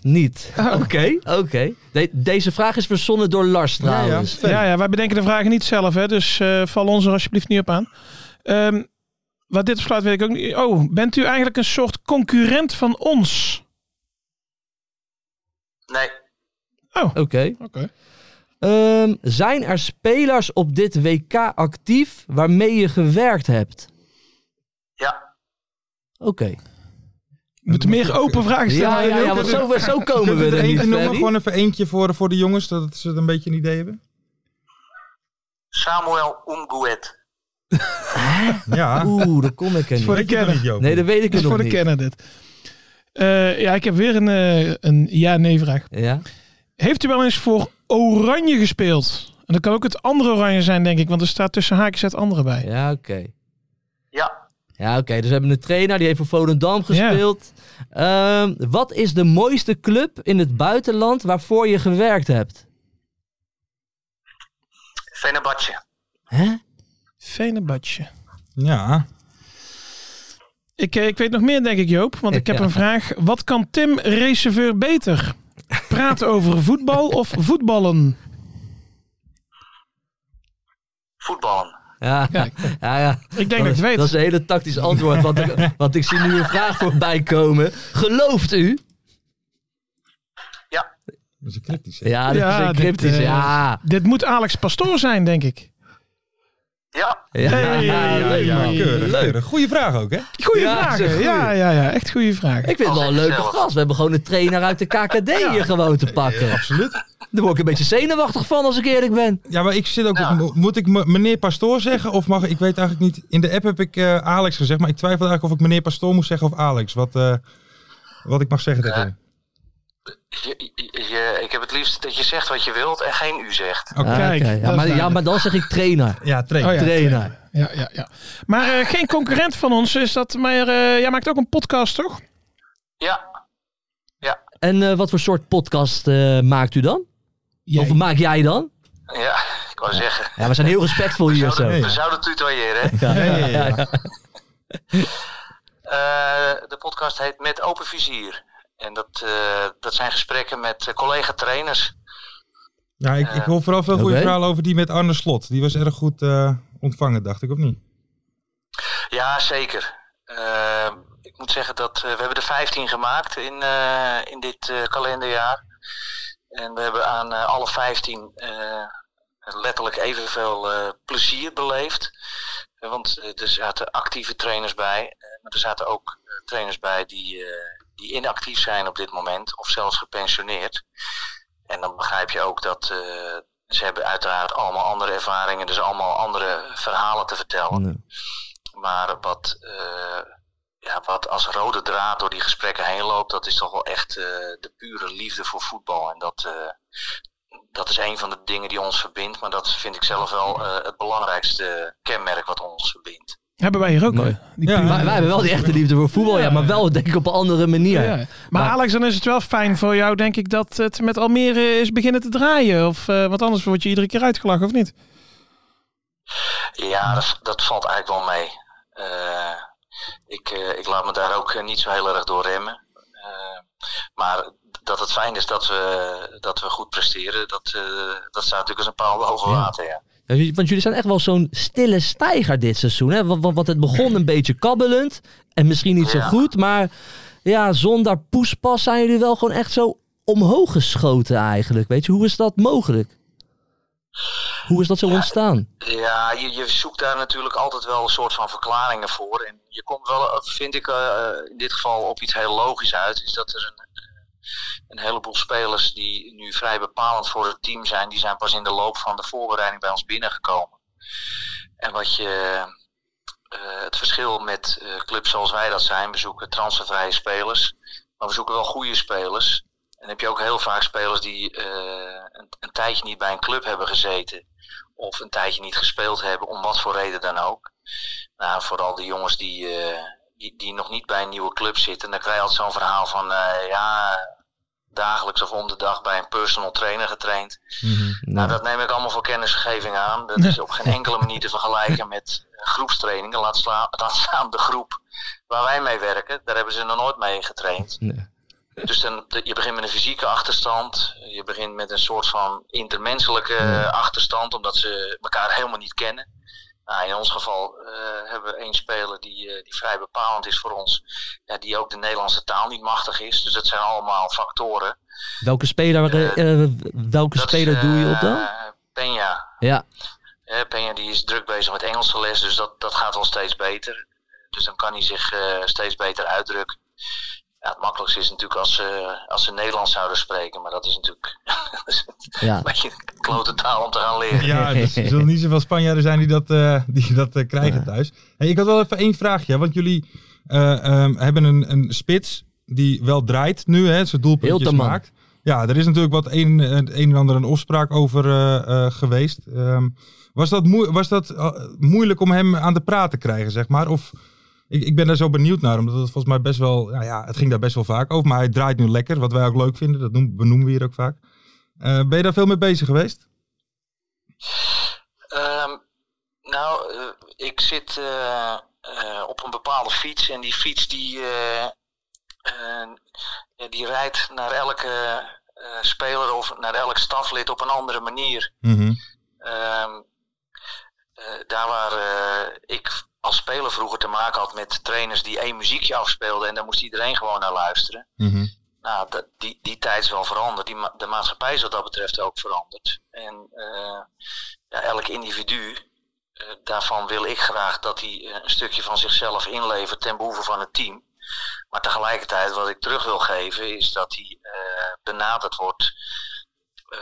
A: Niet.
D: Oh.
A: Oké, oké. De- deze vraag is verzonnen door Lars trouwens.
C: Ferry.
D: Oh, Ja, ja, wij bedenken de vragen niet zelf, hè, dus eh, val ons er alsjeblieft niet op aan. Ehm, wat dit besluit weet ik ook niet. Oh, bent u eigenlijk een soort concurrent van ons?
G: Nee.
A: Oké.
D: Oké.
A: Ehm, zijn er spelers op dit WK actief waarmee je gewerkt hebt?
G: Ja.
A: Oké.
D: Moet meer open vragen
A: Ja,
D: stellen.
A: ja, ja, want zo, zo komen
C: Kunnen
A: we
C: we er
A: er niet,
C: eentje noemen?
A: Ferry.
C: Gewoon even eentje voor, voor de jongens, zodat ze het een beetje een idee hebben.
G: Samuel Umguet.
C: Ja,
A: Oeh, daar kom ik er
C: voor de
A: niet.
C: kenner. Joop.
A: Nee, dat weet ik
D: Dat
A: het
D: is voor
A: nog
D: de
A: niet.
D: kenner dit. Eh, ja, ik heb weer een, eh, een ja-nee vraag.
A: Ja?
D: Heeft u wel eens voor Oranje gespeeld? En dat kan ook het andere Oranje zijn, denk ik, want er staat tussen haakjes het andere bij.
A: Ja, oké.
G: Ja.
A: Ja, oké. Dus we hebben een trainer die heeft voor Volendam gespeeld. Ehm, wat is de mooiste club in het buitenland waarvoor je gewerkt hebt?
G: Fenerbahce.
A: Hè?
D: Venebadje.
C: Ja,
D: Ik, eh, ik weet nog meer, denk ik, Joop. Want ik heb
A: Ja.
D: een vraag. Wat kan Tim Receveur beter? Praten over voetbal of voetballen?
G: Voetballen.
A: Ja, ja, ja.
D: Ik denk dat ik het weet.
A: Oh, Dat is een hele tactisch antwoord, want ik, want ik zie nu een vraag voorbij komen. Gelooft u?
C: dat is een cryptisch. hè?
A: Ja, dat
D: Ja,
A: is een
D: dit,
A: cryptisch.
D: eh,
A: ja.
D: Dit moet Alex Pastoor zijn, denk ik.
G: Ja.
A: Ja,
D: Hey, ja, ja,
A: leuk,
D: ja.
A: man.
C: Keurig,
A: Leuk.
C: keurig. Goeie vraag ook, hè?
D: Goeie
A: Ja,
D: vraag.
A: zeg,
D: vragen.
A: goeie.
D: Ja, ja, ja, echt goede vragen.
A: Ik vind het wel een leuke
G: Gezellig.
A: gast. We hebben gewoon een trainer uit de KKD hier gewoon te pakken. absoluut. Daar word ik een beetje zenuwachtig van als ik eerlijk ben.
C: Ja, maar ik zit ook.
G: Ja.
C: mo- Moet ik me- meneer Pastoor zeggen? Of mag ik? weet eigenlijk niet. In de app heb ik eh, Alex gezegd, maar ik twijfel eigenlijk of ik meneer Pastoor moest zeggen of Alex. Wat, eh, wat ik mag zeggen tegen
G: Ja.
C: hem.
G: Je, je- je- ik heb het liefst dat je zegt wat je wilt en geen u zegt.
C: Oké.
A: Ah,
D: Kijk,
A: oké. ja,
D: dat is
A: maar, ja,
D: duidelijk.
A: maar dan zeg ik trainer.
C: Ja, train.
D: Oh ja,
A: trainer.
D: Ja, ja, ja. Maar eh, geen concurrent van ons is dat. Maar eh, jij maakt ook een podcast, toch?
G: Ja.
A: En eh, wat voor soort podcast eh, maakt u dan?
D: Jij.
A: Of maak jij dan?
G: Ja. Ik wou zeggen.
A: Ja, we zijn heel respectvol
G: We
A: hier zo.
G: zouden,
C: Nee, ja.
G: we zouden tutoyeren. hè?
C: Ja, ja, ja, ja.
G: Eh, de podcast heet Met Open Vizier. En dat, eh, dat zijn gesprekken met eh, collega-trainers.
C: Ja, ik, ik hoor vooral veel goede
A: Oké.
C: verhalen over die met Arne Slot. Die was erg goed eh, ontvangen, dacht ik, of niet?
G: Ja, zeker. Eh, ik moet zeggen dat eh, we hebben er 15 gemaakt in, eh, in dit eh, kalenderjaar. En we hebben aan eh, alle 15 eh, letterlijk evenveel eh, plezier beleefd. Eh, Want eh, er zaten actieve trainers bij. eh, maar er zaten ook eh, trainers bij die, eh, die inactief zijn op dit moment. Of zelfs gepensioneerd. En dan begrijp je ook dat eh, ze hebben uiteraard allemaal andere ervaringen. Dus allemaal andere verhalen te vertellen. Maar wat, eh, ja, wat als rode draad door die gesprekken heen loopt, dat is toch wel echt eh, de pure liefde voor voetbal. En dat, eh, dat is een van de dingen die ons verbindt. Maar dat vind ik zelf wel eh, het belangrijkste kenmerk wat ons verbindt.
D: Hebben wij hier ook.
A: Mooi.
D: hè? Die
C: Ja,
D: pure-
A: Wij, wij hebben wel die echte liefde voor voetbal, ja, maar wel denk ik op een andere manier.
D: Ja. Maar, Alex, dan is het wel fijn voor jou, denk ik, dat het met Almere is beginnen te draaien. Of, eh, want anders word je iedere keer uitgelachen, of niet?
G: Ja, dat, dat valt eigenlijk wel mee. Eh, ik, eh, ik laat me daar ook eh, niet zo heel erg door remmen. Eh, maar dat het fijn is dat we, dat we goed presteren, dat, eh, dat staat natuurlijk als een paal boven water. Ja.
A: Ja, jullie- Want jullie zijn echt wel zo'n stille stijger dit seizoen. Hè? Want, want- want het begon een beetje kabbelend. En misschien niet zo
G: Ja.
A: goed. Maar ja, zonder poespas zijn jullie wel gewoon echt zo omhoog geschoten eigenlijk. Weet je, hoe is dat mogelijk? Hoe is dat zo ontstaan?
G: Ja, je, je zoekt daar natuurlijk altijd wel een soort van verklaringen voor. En je komt wel, eh, vind ik, eh, eh, in dit geval op iets heel logisch uit. Is dat er een, eh, een heleboel spelers die nu vrij bepalend voor het team zijn, die zijn pas in de loop van de voorbereiding bij ons binnengekomen. En wat je. eh, het verschil met eh, clubs zoals wij dat zijn, we zoeken transfervrije spelers. Maar we zoeken wel goede spelers. En dan heb je ook heel vaak spelers die eh, een, een tijdje niet bij een club hebben gezeten of een tijdje niet gespeeld hebben, om wat voor reden dan ook. Nou, vooral de jongens die, eh, die, die nog niet bij een nieuwe club zitten, dan krijg je altijd zo'n verhaal van eh, ja, dagelijks of om de dag bij een personal trainer getraind. Nou, dat neem ik allemaal voor kennisgeving aan. Dat is op geen enkele manier te vergelijken met groepstrainingen. Laat, sla- laat staan de groep waar wij mee werken. Daar hebben ze nog nooit mee getraind.
A: Nee.
G: Dus dan, de- je begint met een fysieke achterstand. Je begint met een soort van intermenselijke eh, achterstand, omdat ze elkaar helemaal niet kennen. Nou, in ons geval eh, hebben we één speler die, eh, die vrij bepalend is voor ons. Ja, die ook de Nederlandse taal niet machtig is. Dus dat zijn allemaal factoren.
A: Welke speler, eh, eh, welke
G: Dat is,
A: speler doe je op dan?
G: eh, Peña.
A: Ja,
G: Hè, Peña die is druk bezig met Engelse les, dus dat, dat gaat wel steeds beter. Dus dan kan hij zich eh, steeds beter uitdrukken. Ja, het makkelijkste is natuurlijk als ze, als ze Nederlands zouden spreken, maar dat is natuurlijk
A: ja.
G: een beetje een klote taal om te gaan leren.
C: Ja, dus er zullen niet zoveel Spanjaarden zijn die dat, eh, die dat eh, krijgen thuis. Hey, ik had wel even één vraagje, hè, want jullie eh, ehm, hebben een, een spits die wel draait nu, hè, zijn
A: Heel
C: doelpuntjes
A: te man.
C: maakt. Ja, er is natuurlijk wat een, eh, het een en ander een afspraak over eh, eh, geweest. Ehm, was dat, moe- was dat eh, moeilijk om hem aan de praat te krijgen, zeg maar? Of ik, ik ben daar zo benieuwd naar, omdat het volgens mij best wel, nou ja, het ging daar best wel vaak over. Maar hij draait nu lekker, wat wij ook leuk vinden, dat noemen, benoemen we hier ook vaak. Eh, ben je daar veel mee bezig geweest?
G: Ehm, nou, eh, ik zit eh, eh, op een bepaalde fiets en die fiets die, eh, eh, ja, die rijdt naar elke eh, speler of naar elk staflid op een andere manier.
C: Mhm.
G: Ehm, eh, daar waar eh, ik als speler vroeger te maken had met trainers die één muziekje afspeelden en daar moest iedereen gewoon naar luisteren.
C: Mhm.
G: Nou, dat, die, die tijd is wel veranderd. Die, ma- de maatschappij is wat dat betreft ook veranderd. En eh, ja, elk individu, eh, daarvan wil ik graag dat hij eh, een stukje van zichzelf inlevert ten behoeve van het team. Maar tegelijkertijd wat ik terug wil geven is dat hij eh, benaderd wordt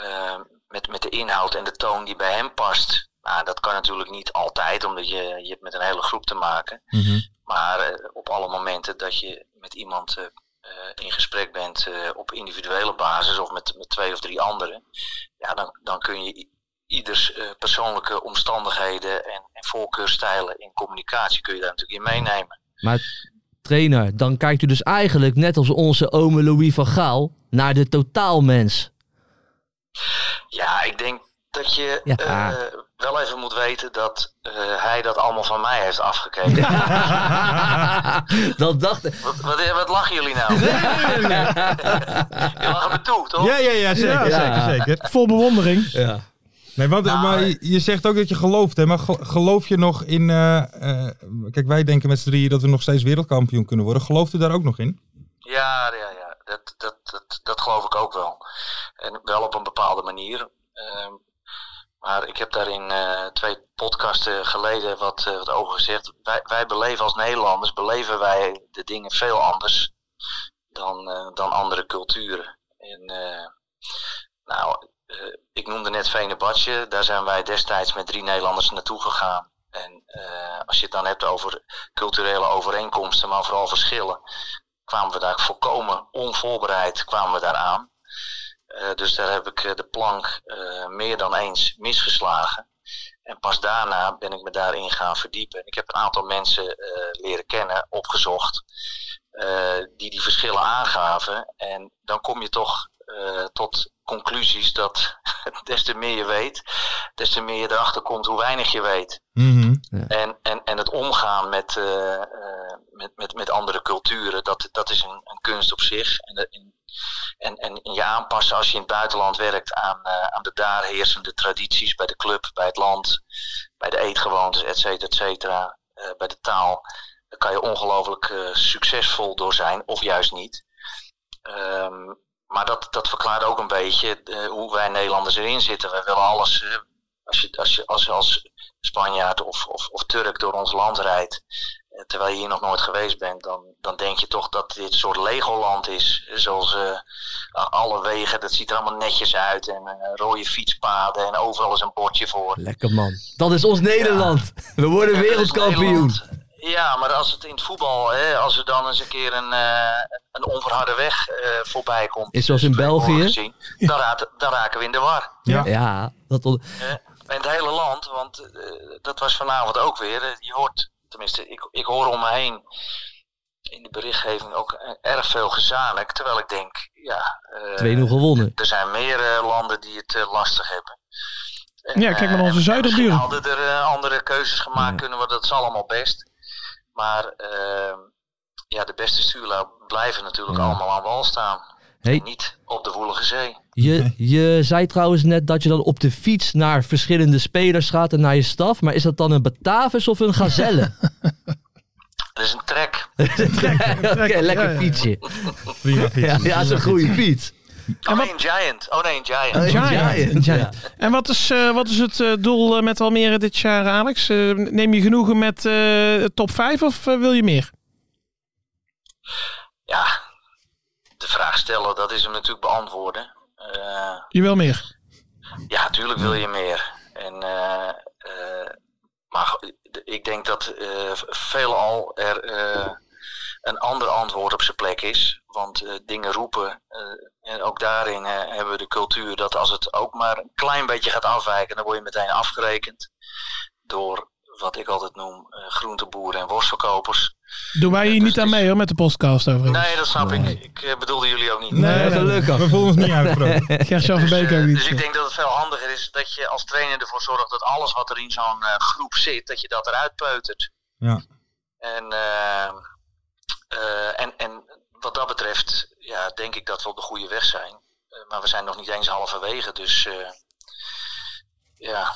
G: eh, met, met de inhoud en de toon die bij hem past. Nou, dat kan natuurlijk niet altijd, omdat je, je hebt met een hele groep te maken.
C: Mhm.
G: Maar eh, op alle momenten dat je met iemand eh, eh, in gesprek bent eh, op individuele basis of met, met twee of drie anderen, ja, dan, dan kun je i- ieders eh, persoonlijke omstandigheden en, en voorkeurstijlen in communicatie kun je daar natuurlijk in meenemen.
A: Maar trainer, dan kijkt u dus eigenlijk net als onze ome Louis van Gaal naar de totaalmens.
G: Ja, ik denk dat je
A: Ja.
G: eh, wel even moet weten dat eh, hij dat allemaal van mij heeft afgekeken.
A: dat dacht ik.
G: Wat, wat, wat lachen jullie nou? Je lachen me toe, toch?
C: Ja, ja, ja, zeker,
A: Ja.
C: zeker, zeker.
D: Vol bewondering.
A: Ja.
C: Nee, want
G: Nou,
C: maar
G: eh,
C: je- je zegt ook dat je gelooft, hè? Maar gel- geloof je nog in... eh, eh, kijk, wij denken met z'n drieën dat we nog steeds wereldkampioen kunnen worden. Gelooft u daar ook nog in?
G: Ja, ja, ja. Dat, dat, dat, dat geloof ik ook wel. En wel op een bepaalde manier. Ehm, maar ik heb daar in eh, twee podcasten geleden wat, eh, wat over gezegd. Wij, wij beleven als Nederlanders, beleven wij de dingen veel anders dan, eh, dan andere culturen. En, eh, nou, eh, ik noemde net Venebadje. Daar zijn wij destijds met drie Nederlanders naartoe gegaan. En eh, als je het dan hebt over culturele overeenkomsten, maar vooral verschillen kwamen we daar volkomen onvoorbereid kwamen we daar aan. Eh, dus daar heb ik eh, de plank eh, meer dan eens misgeslagen. En pas daarna ben ik me daarin gaan verdiepen. Ik heb een aantal mensen eh, leren kennen, opgezocht, eh, die die verschillen aangaven. En dan kom je toch eh, tot conclusies dat des te meer je weet, des te meer je erachter komt hoe weinig je weet.
C: Mhm.
G: En, en, en het omgaan met, eh, eh, met, met, met andere culturen, dat, dat is een, een kunst op zich. En, dat- en, en, en je aanpassen als je in het buitenland werkt aan, eh, aan de daar heersende tradities bij de club, bij het land, bij de eetgewoontes, et cetera, et cetera, eh, bij de taal. Daar kan je ongelooflijk eh, succesvol door zijn, of juist niet. Ehm, maar dat, dat verklaart ook een beetje eh, hoe wij Nederlanders erin zitten. We willen alles. eh, als, je, als, je, als, je als Spanjaard of, of, of Turk door ons land rijdt, eh, terwijl je hier nog nooit geweest bent, dan, dan denk je toch dat dit een soort Legoland is. Eh, Zoals eh, a- alle wegen, dat ziet er allemaal netjes uit en eh, rode fietspaden en overal is een bordje voor.
A: Lekker man. Dat is ons Nederland. We worden
G: Ja, dat is
A: wereldkampioen.
G: Nederland. Ja, maar als het in het voetbal, hè, als er dan eens een keer een, eh, een onverharde weg eh, voorbij komt.
A: Is zoals in
G: dus
A: België?
G: tegenwoordig Gezien, dan, raad- dan raken we in de war.
C: Ja.
A: Ja, dat on-
G: En het hele land, want eh, dat was vanavond ook weer. eh, Je hoort, tenminste, ik, ik hoor om me heen in de berichtgeving ook eh, erg veel gezanik. Terwijl ik denk, ja, eh,
A: 2-0 gewonnen.
G: er zijn meer eh, landen die het eh, lastig hebben. En,
D: Ja, kijk maar naar
G: eh,
D: onze
G: en
D: zuiderburen.
G: misschien hadden er eh, andere keuzes gemaakt kunnen worden, dat is allemaal best. Maar eh, ja, de beste stuurlui blijven natuurlijk
A: Ja.
G: allemaal aan wal staan.
A: Hey.
G: En niet op de woelige zee.
A: Je, je zei trouwens net dat je dan op de fiets naar verschillende spelers gaat en naar je staf. Maar is dat dan een Batavus of een Gazelle?
G: Dat is een trek.
A: Oké, lekker
D: ja, ja.
A: fietsje.
C: Prima
A: Ja,
C: fietsen.
A: ja, dat is een goede fiets.
G: Oh nee, een giant. Oh nee, een giant.
A: Een Giant.
D: Giant.
A: Ja.
D: En wat is, eh, wat is het eh, doel eh, met Almere dit jaar, Alex? Eh, neem je genoegen met eh, top 5 of eh, wil je meer?
G: Ja, de vraag stellen, dat is hem natuurlijk beantwoorden. Eh,
D: Je wil meer.
G: ja, tuurlijk wil je meer. En, eh, eh, maar go- ik denk dat eh, veelal er eh, een ander antwoord op zijn plek is. Want eh, dingen roepen, eh, en ook daarin eh, hebben we de cultuur dat als het ook maar een klein beetje gaat afwijken, dan word je meteen afgerekend door wat ik altijd noem eh, groenteboeren en worstverkopers.
D: Doen wij hier
G: dus
D: niet aan
G: het is-
D: mee hoor, met de podcast overigens.
G: Nee, dat snap ik. Ik eh, bedoelde jullie ook niet.
D: Nee,
A: gelukkig.
C: We voelen ons niet uitgesproken.
D: Gert-Jan van Beek ook
G: Eh,
D: niet.
G: Dus ik denk dat het veel handiger is dat je als trainer ervoor zorgt dat alles wat er in zo'n eh, groep zit, dat je dat eruit peutert.
C: Ja.
G: En, eh, eh, en, en wat dat betreft, ja, denk ik dat we op de goede weg zijn. Eh, maar we zijn nog niet eens halverwege, dus eh, ja,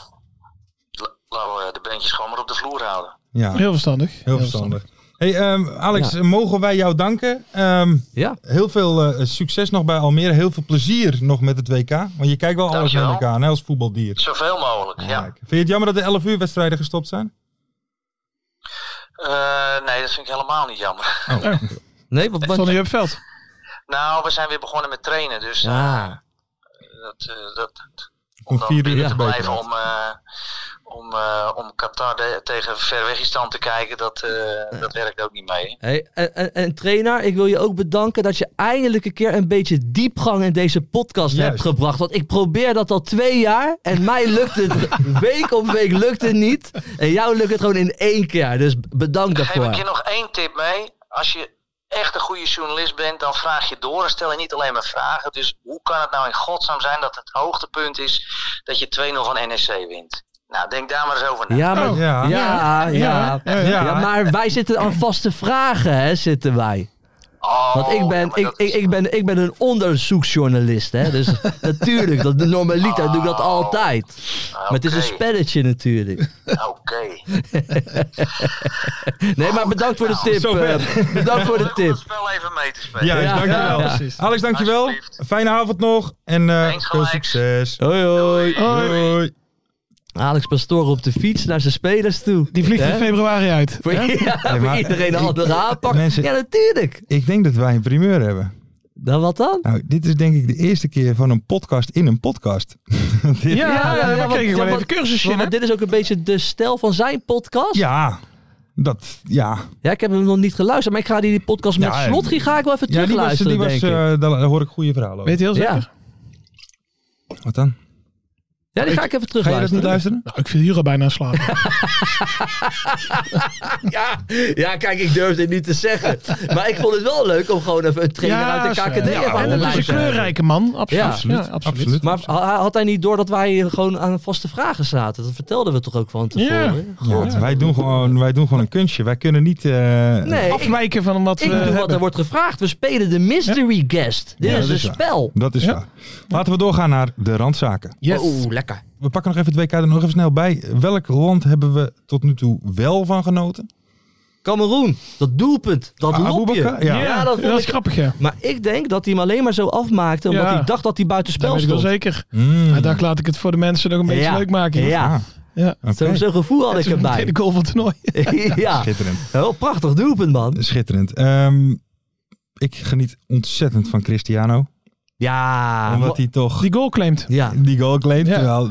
G: La- laten we de beentjes gewoon maar op de vloer houden.
C: Ja,
D: Heel verstandig.
C: heel verstandig. Hey, ehm, Alex, mogen wij jou danken? Ehm,
A: Ja.
C: heel veel eh, succes nog bij Almere. Heel veel plezier nog met het WK. Want je kijkt wel alles naar
G: Dankjewel.
C: elkaar aan, hè, als voetbaldier.
G: Zoveel mogelijk, ja.
C: Kijk. Vind je het jammer dat de 11 uur wedstrijden gestopt zijn?
G: Eh, nee, dat vind ik helemaal niet jammer.
A: Nee, wat,
D: Stond
A: wat,
D: je op het veld?
G: Nou, we zijn weer begonnen met trainen, dus eh,
A: ja.
G: dat, eh, dat,
C: Om
G: dan
C: vier uur
G: binnen
C: is
G: te
C: het
G: blijven
C: beter.
G: om, eh, om, eh, om Qatar de- tegen Verwegistan te kijken, dat, eh, dat werkt ook niet mee.
A: Hey, en, en, en trainer, ik wil je ook bedanken dat je eindelijk een keer een beetje diepgang in deze podcast
C: Juist.
A: hebt gebracht. Want ik probeer dat al twee jaar en mij lukt het week op week lukt het niet. En jou lukt het gewoon in één keer. Dus bedankt
G: Geef ik je
A: daarvoor.
G: nog één tip mee. Als je echt een goede journalist bent, dan vraag je door en stel je niet alleen maar vragen. Dus hoe kan het nou in godsnaam zijn dat het hoogtepunt is dat je 2-0 van NEC wint? Nou, denk daar maar eens over na.
A: Ja, maar,
D: Oh,
A: ja,
C: ja.
A: ja, ja,
D: Ja,
C: ja.
A: maar wij zitten aan vaste vragen, hè, zitten wij.
G: Oh, Oh,
A: Want ik ben,
G: ja, maar
A: ik,
G: dat
A: ik,
G: is-
A: ik ben, ik ben een onderzoeksjournalist. Hè? Dus natuurlijk, dat, de normaliter doe ik dat altijd. Maar het is een
G: Ah, Oké.
A: spelletje natuurlijk.
G: Oké.
A: Nee, maar bedankt voor de
G: Nou,
A: tip.
C: zover.
A: eh, bedankt voor de
G: Leuk om
A: tip.
G: het spel even mee te spelen.
C: Juist,
A: Ja,
C: dankjewel.
A: ja,
D: precies.
C: Alex, dankjewel.
G: Alsjeblieft.
C: Fijne avond nog. En eh,
G: Thanks,
C: veel
G: Alex.
C: succes.
A: Hoi
D: Oh,
A: hoi.
C: Hoi.
A: Alex Pastoor op de fiets naar zijn spelers toe.
D: Die vliegt in
A: Hè?
D: februari uit.
A: Voor, ja, voor
C: maar-
A: iedereen een
C: Ik-
A: andere aanpak.
C: mensen-
A: Ja, natuurlijk.
C: Ik denk dat wij een primeur hebben.
A: Dan wat dan?
C: Nou, dit is denk ik de eerste keer van een podcast in een podcast. Dit-
D: Ja, ja, daar
A: want-
D: kreeg ik wel
A: want-
D: even cursusje in,
A: want
D: hè?
A: dit is ook een beetje de stijl van zijn podcast.
C: Ja. Dat, ja.
A: Ja, ik heb hem nog niet geluisterd, maar ik ga die, die podcast met
C: Ja, ja.
A: Slotgi ga ik wel even
C: Ja, die was,
A: terugluisteren,
C: die was
A: denk ik.
C: eh, daar hoor ik goede verhalen over.
D: Weet je heel zeker?
A: ja.
C: Wat dan?
A: ja, die ga ik even
C: Ga je dat
A: terugluisteren.
C: niet luisteren?
D: Nou, ik viel hier al bijna aan slapen.
A: Ja, ja, kijk, ik durf dit niet te zeggen. Maar ik vond het wel leuk om gewoon even een trainer uit de
D: ze-
A: KKD even aan
D: En
A: te
D: het is een
A: luisteren.
D: kleurrijke man, absoluut.
A: Ja,
D: Ja,
A: absoluut.
D: absoluut.
C: Absoluut.
A: Maar ha- had hij niet door dat wij hier gewoon aan vaste vragen zaten? Dat vertelden we toch ook van tevoren?
C: Ja,
A: God.
C: Wij, doen gewoon, wij doen gewoon een kunstje. Wij kunnen niet... eh,
A: Nee, ik,
D: Afwijken van wat
A: ik
D: we
A: doe wat er
D: hebben.
A: wordt gevraagd. We spelen de mystery guest. Dit
C: Ja,
A: is
C: dat
A: een
C: is waar.
A: spel.
C: Dat is
D: Ja.
C: waar. Laten we doorgaan naar de randzaken.
D: Yes.
A: Oeh, Oh, lekker.
C: We pakken nog even het WK er nog even snel bij. Welk land hebben we tot nu toe wel van genoten?
A: Cameroen, dat doelpunt, dat
C: Ah,
A: lopje.
C: Aboubakar,
D: Ja,
C: ja.
A: dat
D: dat,
A: vond
D: is
A: ik-
D: grappig, ja.
A: Maar ik denk dat hij hem alleen maar zo afmaakte omdat
D: Ja.
A: hij dacht dat hij
D: Dat
A: buitenspel
D: weet ik wel
A: stond.
D: zeker.
C: Mm.
D: Hij dacht, laat ik het voor de mensen nog een beetje
A: Ja.
D: leuk maken. joh.
A: Ah, Ja,
C: Ah,
D: ja.
C: oké.
A: Zo- zo'n gevoel had ik
D: Het is meteen
A: erbij.
D: de goal van het toernooi.
A: ja,
C: Schitterend.
A: heel prachtig doelpunt man.
C: Schitterend. Ehm, ik geniet ontzettend van Cristiano.
A: Ja,
C: omdat hij toch
D: Die goal claimt.
A: ja.
C: die goal claimt.
D: Ja.
C: Terwijl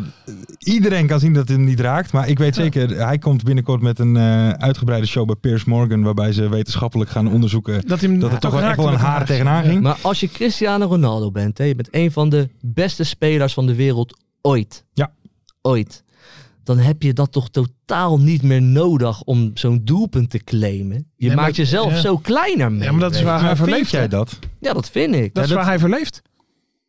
C: iedereen kan zien dat hij hem niet raakt. Maar ik weet zeker, hij komt binnenkort met een eh, uitgebreide show bij Piers Morgan. Waarbij ze wetenschappelijk gaan onderzoeken
D: Dat hij hem
C: dat er toch wel echt
D: raakte
C: wel een
D: met de
C: haar
D: haak.
C: tegenaan ging.
A: Maar als je Cristiano Ronaldo bent, hè, je bent een van de beste spelers van de wereld ooit.
C: Ja.
A: Ooit. Dan heb je dat toch totaal niet meer nodig om zo'n doelpunt te claimen. Je
D: Nee,
A: maakt
D: maar-
A: jezelf
D: ja.
A: zo kleiner mee.
D: Ja, maar dat is waar hij
C: Maar vind
D: verleeft. hè.
C: jij dat?
A: Ja, dat vind ik.
D: Dat is waar hij verleeft.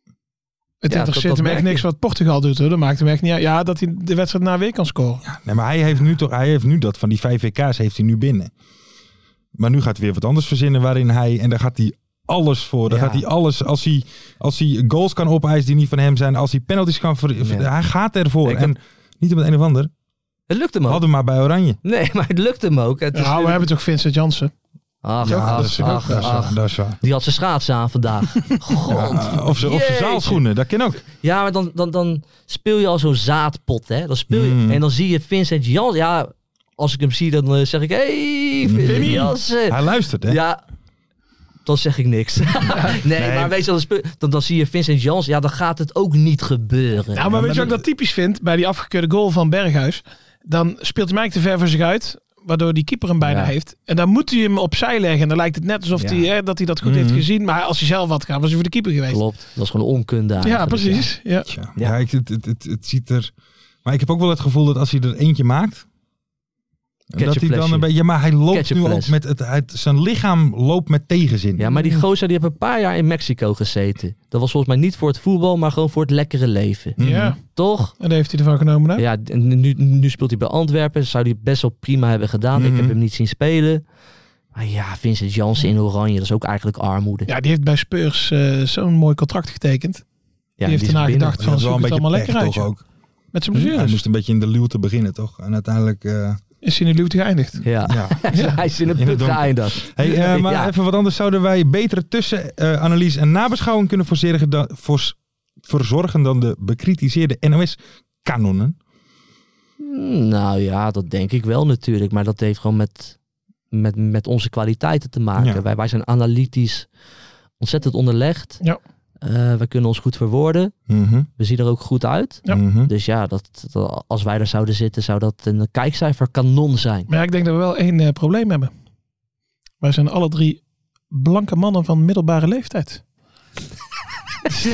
D: Het
A: Ja, dat-
D: interesseert
A: dat
D: hem echt
A: merk
D: niks
A: je.
D: wat Portugal doet. Hoor. Dat maakt hem echt niet uit. Ja, dat hij de wedstrijd na weer kan scoren.
C: Nee, maar hij heeft nu toch, hij heeft nu dat van die vijf WK's heeft hij nu binnen. Maar nu gaat hij weer wat anders verzinnen waarin hij, en daar gaat hij alles voor. Daar
A: Ja.
C: gaat hij alles, als hij, als hij goals kan opeisen die niet van hem zijn, als hij penalties kan, ver, ver-
A: Ja.
C: hij gaat ervoor.
A: Ik-
C: en niet op het een of ander,
A: Het lukt hem ook.
C: hadden we maar bij Oranje.
A: Nee, maar het lukt hem ook. Het is
D: Ja, we
A: nu-
D: hebben toch Vincent Jansen.
A: Ach,
C: Ja,
A: ach,
C: dat is,
A: ach,
C: dat is waar,
A: ach.
C: dat is waar.
A: Die had zijn schaatsen aan vandaag. God.
C: Ah, Of ze- of zijn
A: Jeetje.
C: zaalschoenen, dat kan ook.
A: Ja, maar dan, dan, dan speel je al zo'n zaadpot, hè. Dan speel je,
C: Mm.
A: En dan zie je Vincent Jansen. Ja, als ik hem zie, dan eh, zeg ik... hey, Vincent Jansen.
C: Hij luistert, hè?
A: Ja, dan zeg ik niks. nee, maar weet je, dan, speel- dan, dan zie je Vincent Jans. Ja, dan gaat het ook niet gebeuren.
D: Ja, Nou, maar weet je wat ik dat typisch vind? Bij die afgekeurde goal van Berghuis. Dan speelt hij mij te ver voor zich uit. Waardoor die keeper hem bijna
A: Ja.
D: heeft. En dan moet hij hem opzij leggen. En dan lijkt het net alsof
A: Ja.
D: hij, hè, dat hij dat goed heeft gezien. Maar als hij zelf had gedaan, was hij voor de keeper geweest.
A: Klopt, dat is gewoon onkunde
D: Ja,
A: eigenlijk,
D: precies. Ja.
C: Tja,
A: Ja.
C: ja, ik, het, het, het, het ziet er... Maar ik heb ook wel het gevoel dat als hij er eentje maakt... Dat hij dan
A: Ketchupflesje.
C: een beetje... Ja, maar hij loopt nu ook
A: Ketchupfles.
C: met... Het, het, zijn lichaam loopt met tegenzin.
A: Ja, maar die gozer die heeft een paar jaar in Mexico gezeten. Dat was volgens mij niet voor het voetbal, maar gewoon voor het lekkere leven.
C: Mhm.
D: Ja,
A: Toch?
D: en daar heeft hij ervan genomen. Hè?
A: Ja, en nu, nu speelt hij bij Antwerpen. Zou hij best wel prima hebben gedaan. Ik
C: Mhm.
A: heb hem niet zien spelen. Maar ja, Vincent Jansen in Oranje, dat is ook eigenlijk armoede.
D: Ja, die heeft bij Spurs eh, zo'n mooi contract getekend.
A: Ja,
D: die heeft
A: is
D: daarna
A: binnen.
D: gedacht van,
C: is
D: zoek het allemaal
C: pech,
D: lekker uit.
C: toch
D: joh.
C: ook.
D: Met zijn
C: Mhm. Hij
D: blessures.
C: moest een beetje in de luwte beginnen, toch? En uiteindelijk... eh,
D: Is hij in de luwte geëindigd.
A: Ja,
C: ja.
A: hij is in een
C: In het
A: put
C: donker.
A: geëindigd.
C: Hey, eh, maar
A: Ja.
C: even wat anders. Zouden wij betere tussenanalyse en nabeschouwing kunnen voorzorgen dan, voors- verzorgen dan de bekritiseerde NOS-kanonnen?
A: Mm, Nou ja, dat denk ik wel natuurlijk. Maar dat heeft gewoon met, met, met onze kwaliteiten te maken.
C: Ja.
A: Wij, wij zijn analytisch ontzettend onderlegd.
D: Ja.
A: Eh, we kunnen ons goed verwoorden.
C: Mhm,
A: We zien er ook goed uit.
D: Ja.
C: mhm.
A: Dus ja, dat, dat- als wij er zouden zitten, zou dat een kijkcijfer kanon zijn.
D: Maar ja, ik denk dat we wel één eh, probleem hebben. Wij zijn alle drie blanke mannen van middelbare leeftijd.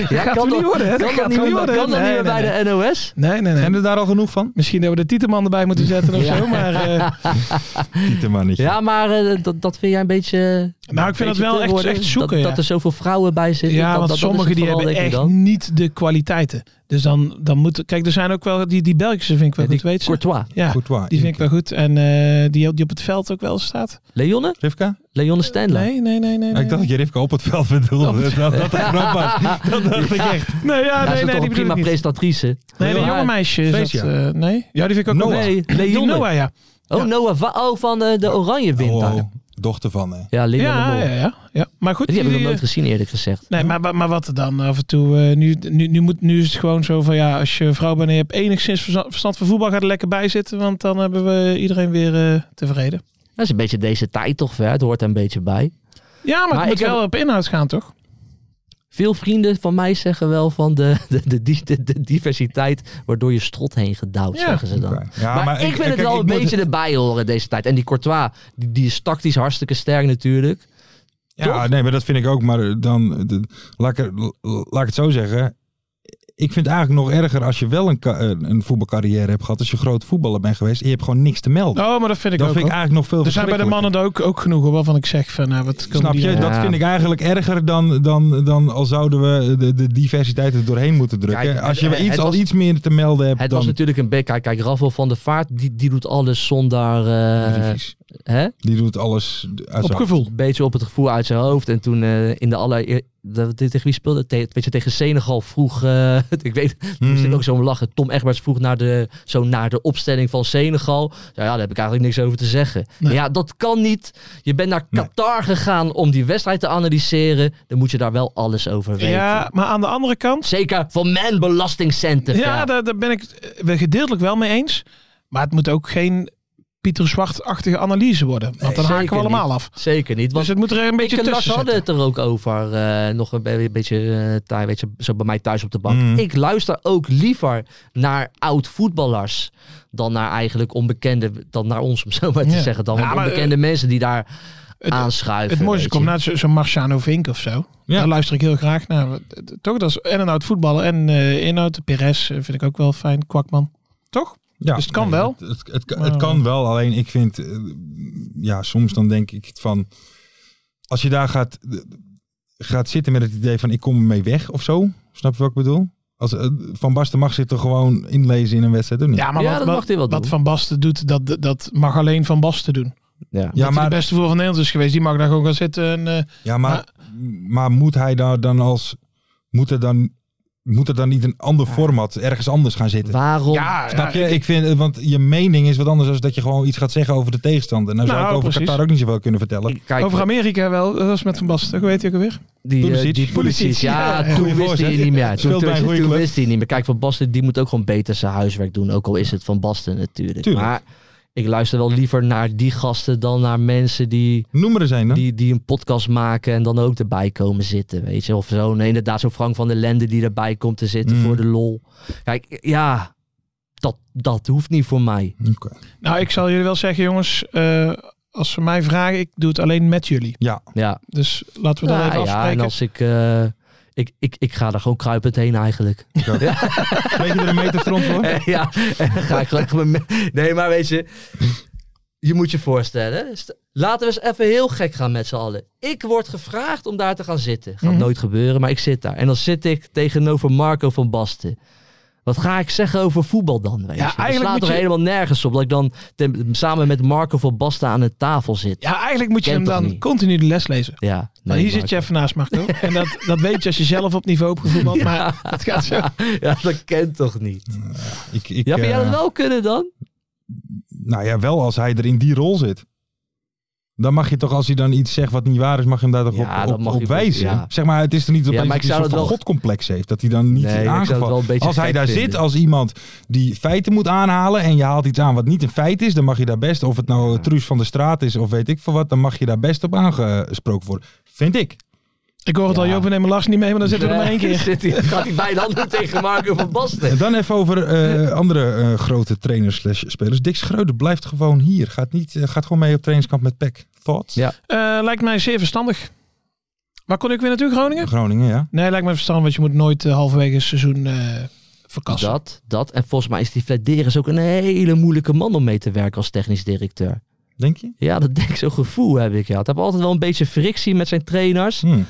A: Ja,
D: gaat hem niet worden, hè? Dat
A: Kan
D: gaat
A: dat niet
D: hem
A: meer
D: niet worden,
A: kan dat
D: hè?
A: niet meer
D: Nee,
A: bij de NOS?
D: Nee, nee,
C: Zijn
D: nee.
C: er daar al genoeg van?
D: Misschien dat we de titelman erbij moeten zetten of
A: Ja.
D: zo. Maar eh,
C: Tietemannetje.
A: Ja, maar eh, dat, dat vind jij een beetje...
D: nou, ik
A: een
D: vind dat
A: beetje
D: wel
A: te
D: echt,
A: worden.
D: echt zoeken.
A: Dat,
D: ja,
A: dat er zoveel vrouwen bij zitten.
D: ja
A: dat,
D: want
A: dat, dat is
D: sommigen
A: het
D: die
A: vooral,
D: hebben
A: denk
D: echt
A: ik dan.
D: niet de kwaliteiten. Dus dan, dan moet... Kijk, er zijn ook wel... Die, die Belgische vind ik wel
A: die
D: goed, weet ze.
A: Courtois.
D: Ja,
C: Courtois,
D: die vind ik wel goed. En eh, die, die op het veld ook wel staat.
A: Leonne?
C: Rivka?
A: Leonne Stendler.
D: Nee, nee, nee, nee.
C: Ja, ik dacht dat je Rivka op het veld bedoelde. Dat, dat, dat, grap was. dat dacht ik echt.
D: nee. Nee, ja,
A: Daar
D: nee,
A: is
D: nee,
A: toch
D: die
A: een prima
D: prima niet.
A: presentatrice.
D: Nee, die jonge meisje is dat,
C: Freesia.
D: eh, nee? Ja, die vind ik ook
C: Noah.
D: wel
A: Nee,
D: goed. Die
A: Leonne.
D: Noah, ja.
A: Oh,
D: Ja.
A: Noah. Va- Oh, van eh, de Oranje wint
C: Oh,
A: daar.
C: dochter van, hè.
A: Ja, Linda de
D: Ja,
A: Mol.
D: ja, ja, ja. Maar goed,
A: Die heb ik nog
D: die,
A: nooit
D: eh,
A: gezien eerlijk gezegd.
D: Nee, maar, maar- maar wat er dan af en toe. eh, nu, nu, nu, moet, nu is het gewoon zo van ja, als je vrouw bent en je hebt enigszins verza- verstand van voetbal, ga er lekker bij zitten. Want dan hebben we iedereen weer eh, tevreden.
A: Dat is een beetje deze tijd toch, hè? het hoort er een beetje bij.
D: Ja, maar,
A: Maar
D: het moet
A: ik heb-
D: wel op inhoud gaan, toch?
A: Veel vrienden van mij zeggen wel van de, de, de, di- de- de diversiteit waardoor je strot heen gedouwd,
D: Ja.
A: zeggen ze dan.
C: Oké. Ja,
A: maar, ik, vind
C: kijk,
A: het wel
C: ik
A: een
C: moet-
A: beetje erbij horen deze tijd. En die Courtois, die, die is tactisch hartstikke sterk natuurlijk.
C: Ja, nee, maar dat vind ik ook. Maar dan, eh, de- laat, ik, er- laat ik het zo zeggen. Ik vind het eigenlijk nog erger als je wel een, ka- een een voetbalcarrière hebt gehad. Als je groot voetballer bent geweest en je hebt gewoon niks te melden.
D: Oh, maar dat vind ik
C: dat
D: ook.
C: vind ik
D: hoor.
C: eigenlijk nog veel
D: er zijn bij de mannen ook, ook genoeg hoor, waarvan ik zeg van nou, wat komen
C: Snap
D: die
C: je?
D: aan?
C: Dat
A: Ja.
C: vind ik eigenlijk erger dan, dan, dan al zouden we de, de diversiteit er doorheen moeten drukken.
A: Kijk,
C: als je
A: het-
C: iets,
A: het
C: al
A: was-
C: iets meer te melden hebt,
A: Het
C: dan...
A: was natuurlijk een bek. Kijk, kijk Rafael van der Vaart, die, die doet alles zonder... eh,
C: Precies.
A: hè?
C: Die doet alles uit zijn
D: Op
C: hoofd.
D: gevoel.
A: Een beetje op het gevoel uit zijn hoofd. En toen eh, in de aller... Tegen wie speelde het? Te- Weet je, tegen Senegal vroeg... eh, ik weet, toen moest
D: Hmm.
A: ik
C: Mhm.
A: ook zo om lachen. Tom Egberts vroeg naar de, zo naar de opstelling van Senegal. Ja, ja, daar heb ik eigenlijk niks over te zeggen.
D: Nee.
A: Ja, dat kan niet. Je bent naar
C: Nee.
A: Qatar gegaan om die wedstrijd te analyseren. Dan moet je daar wel alles over weten.
D: Ja, maar aan de andere kant.
A: Zeker van mijn belastingcenten.
D: Ja, daar, daar ben ik eh, wel gedeeltelijk wel mee eens. Maar het moet ook geen Pieter Zwart-achtige analyse worden. Want dan haken
A: zeker
D: we allemaal af.
A: Zeker niet.
D: Dus
A: Want
D: het moet er een beetje
A: ik en Lars
D: tussen
A: hadden
D: zitten.
A: het er ook over. eh, nog een be- beetje, eh, daar, weet je, zo bij mij thuis op de bank.
C: Mm.
A: Ik luister ook liever naar oud voetballers. Dan naar eigenlijk onbekende, dan naar ons om zo maar te
D: Ja.
A: zeggen. Dan
D: Ja,
A: want
D: maar, eh,
A: onbekende mensen die daar
D: het-
A: aanschuiven.
D: Het mooiste
A: weet je.
D: komt naast zo- zo'n Marciano Vink of zo.
C: Ja.
D: Daar luister ik heel graag naar. Want, eh, Toch, dat is en een oud voetballer en eh, inhoud. Perez eh, vind ik ook wel fijn. Kwakman. Toch?
C: Ja,
D: Dus het kan wel.
C: Het, het, het- het kan wel, alleen ik vind, eh, ja, soms dan denk ik van, als je daar gaat, eh, gaat zitten met het idee van ik kom ermee weg of zo, snap je wat ik bedoel? Als, eh, van Basten mag zich er gewoon inlezen in een wedstrijd, of niet?
D: Ja, maar
A: Ja,
D: wat,
A: dat
D: wat,
A: mag hij wel
D: wat
A: doen.
D: Van Basten doet, dat, dat mag alleen Van Basten doen.
A: Ja.
C: ja,
D: dat maar, de
C: maar,
D: beste voer van Nederland is geweest. Die mag daar gewoon gaan zitten. En, eh,
C: ja maar, maar moet hij daar dan als, moet er dan, moet er dan niet een ander format ergens anders gaan zitten?
A: Waarom?
D: ja,
C: Snap
D: ja,
C: je? Ik vind, eh, want je mening is wat anders dan dat je gewoon iets gaat zeggen over de tegenstander. Nou, zou
D: Nou,
C: ik over
D: precies.
C: Qatar ook niet zoveel kunnen vertellen.
A: Ik- Kijk,
D: eh, Over Amerika wel. Dat was met Van Basten. Hoe heet hij ook alweer?
A: die, eh,
C: Pulisic.
A: die Pulisic, ja,
D: Ja,
A: toen
C: goeie
A: wist hij
C: voorzet.
A: niet meer. Toen,
C: Speelt bij een
A: toen-
C: goede
A: toen
C: club.
A: wist hij niet meer. Kijk, Van Basten die moet ook gewoon beter zijn huiswerk doen. Ook al is het Van Basten natuurlijk.
C: Tuurlijk.
A: Maar ik luister wel liever naar die gasten dan naar mensen die...
C: Noem er eens een dan.
A: die, die een podcast maken en dan ook erbij komen zitten, weet je. Of zo, nee, inderdaad, zo'n Frank van der Lende die erbij komt te zitten
C: Mm.
A: voor de lol. Kijk, ja, dat, dat hoeft niet voor mij.
C: Oké.
D: Nou, ik zal jullie wel zeggen, jongens. eh, als ze mij vragen, ik doe het alleen met jullie.
C: Ja,
A: Ja,
D: Dus laten we dat
A: Nou,
D: even
A: ja en
D: afspreken.
A: als ik, eh, ik, ik, ik ga er gewoon kruipend heen eigenlijk.
C: Weet je er een meter front voor?
A: ja, en dan ga ik gewoon echt mijn me- Nee, maar weet je, je moet je voorstellen. st- Laten we eens even heel gek gaan met z'n allen. Ik word gevraagd om daar te gaan zitten. Gaat
D: Mhm.
A: nooit gebeuren, maar ik zit daar. En dan zit ik tegenover Marco van Basten. Wat ga ik zeggen over voetbal dan? Weet je?
D: Ja,
A: dat
D: eigenlijk
A: slaat
D: moet
A: toch
D: je-
A: helemaal nergens op. Dat ik dan ten- samen met Marco van Basten aan de tafel zit.
D: Ja, eigenlijk moet je
A: Kent
D: hem
A: toch
D: dan
A: niet?
D: continu de les lezen.
A: Ja,
D: Maar
A: nee,
D: hier zit
A: Marco.
D: je even naast, Marco. En dat, dat weet je als je zelf op niveau hebt gevoetbald. Maar dat gaat zo.
A: Ja, dat kent toch niet?
C: Ik, ik,
A: Ja, vind jij
C: eh,
A: dat wel kunnen dan?
C: Nou ja, wel als hij er in die rol zit. Dan mag je toch, als hij dan iets zegt wat niet waar is, mag je hem daar toch
A: Ja,
C: op,
A: dat
C: op,
A: mag
C: op
A: je-
C: wijzen.
A: ja.
C: Zeg maar, het is er niet opeens
A: maar
C: dat
A: ik
C: hij een
A: zou
C: soort
A: dat
C: van
A: wel-
C: godcomplex heeft. Dat hij dan niet
A: Nee, ik zou het wel een
C: aangevallen
A: beetje
C: Als hij
A: gek
C: daar
A: vinden.
C: zit als iemand die feiten moet aanhalen en je haalt iets aan wat niet een feit is, dan mag je daar best, of het nou eh, Truus van de Straat is of weet ik veel wat, dan mag je daar best op aangesproken worden. Vind ik.
D: Ik hoor het al,
A: Ja.
D: Joop, we nemen Lars niet mee, maar dan zitten we er maar één
A: Nee,
D: keer.
A: zit hij, gaat hij bijna niet tegen Marco van Basten.
C: En dan even over eh, andere eh, grote trainers slash spelers. Dick Schreuder blijft gewoon hier. Gaat, niet, eh, gaat gewoon mee op trainingskamp met PEC. Thoughts?
A: Ja.
D: Eh, lijkt mij zeer verstandig. Waar kon ik weer naartoe, Groningen?
C: Groningen, ja.
D: Nee, lijkt mij verstandig, want je moet nooit eh, halverwege het seizoen eh verkassen.
A: Dat, dat. En volgens mij is die Flederis ook een hele moeilijke man om mee te werken als technisch directeur.
C: Denk je?
A: Ja, dat denk ik, zo'n gevoel heb ik. Ja. Het heb altijd wel een beetje frictie met zijn trainers.
C: Hmm.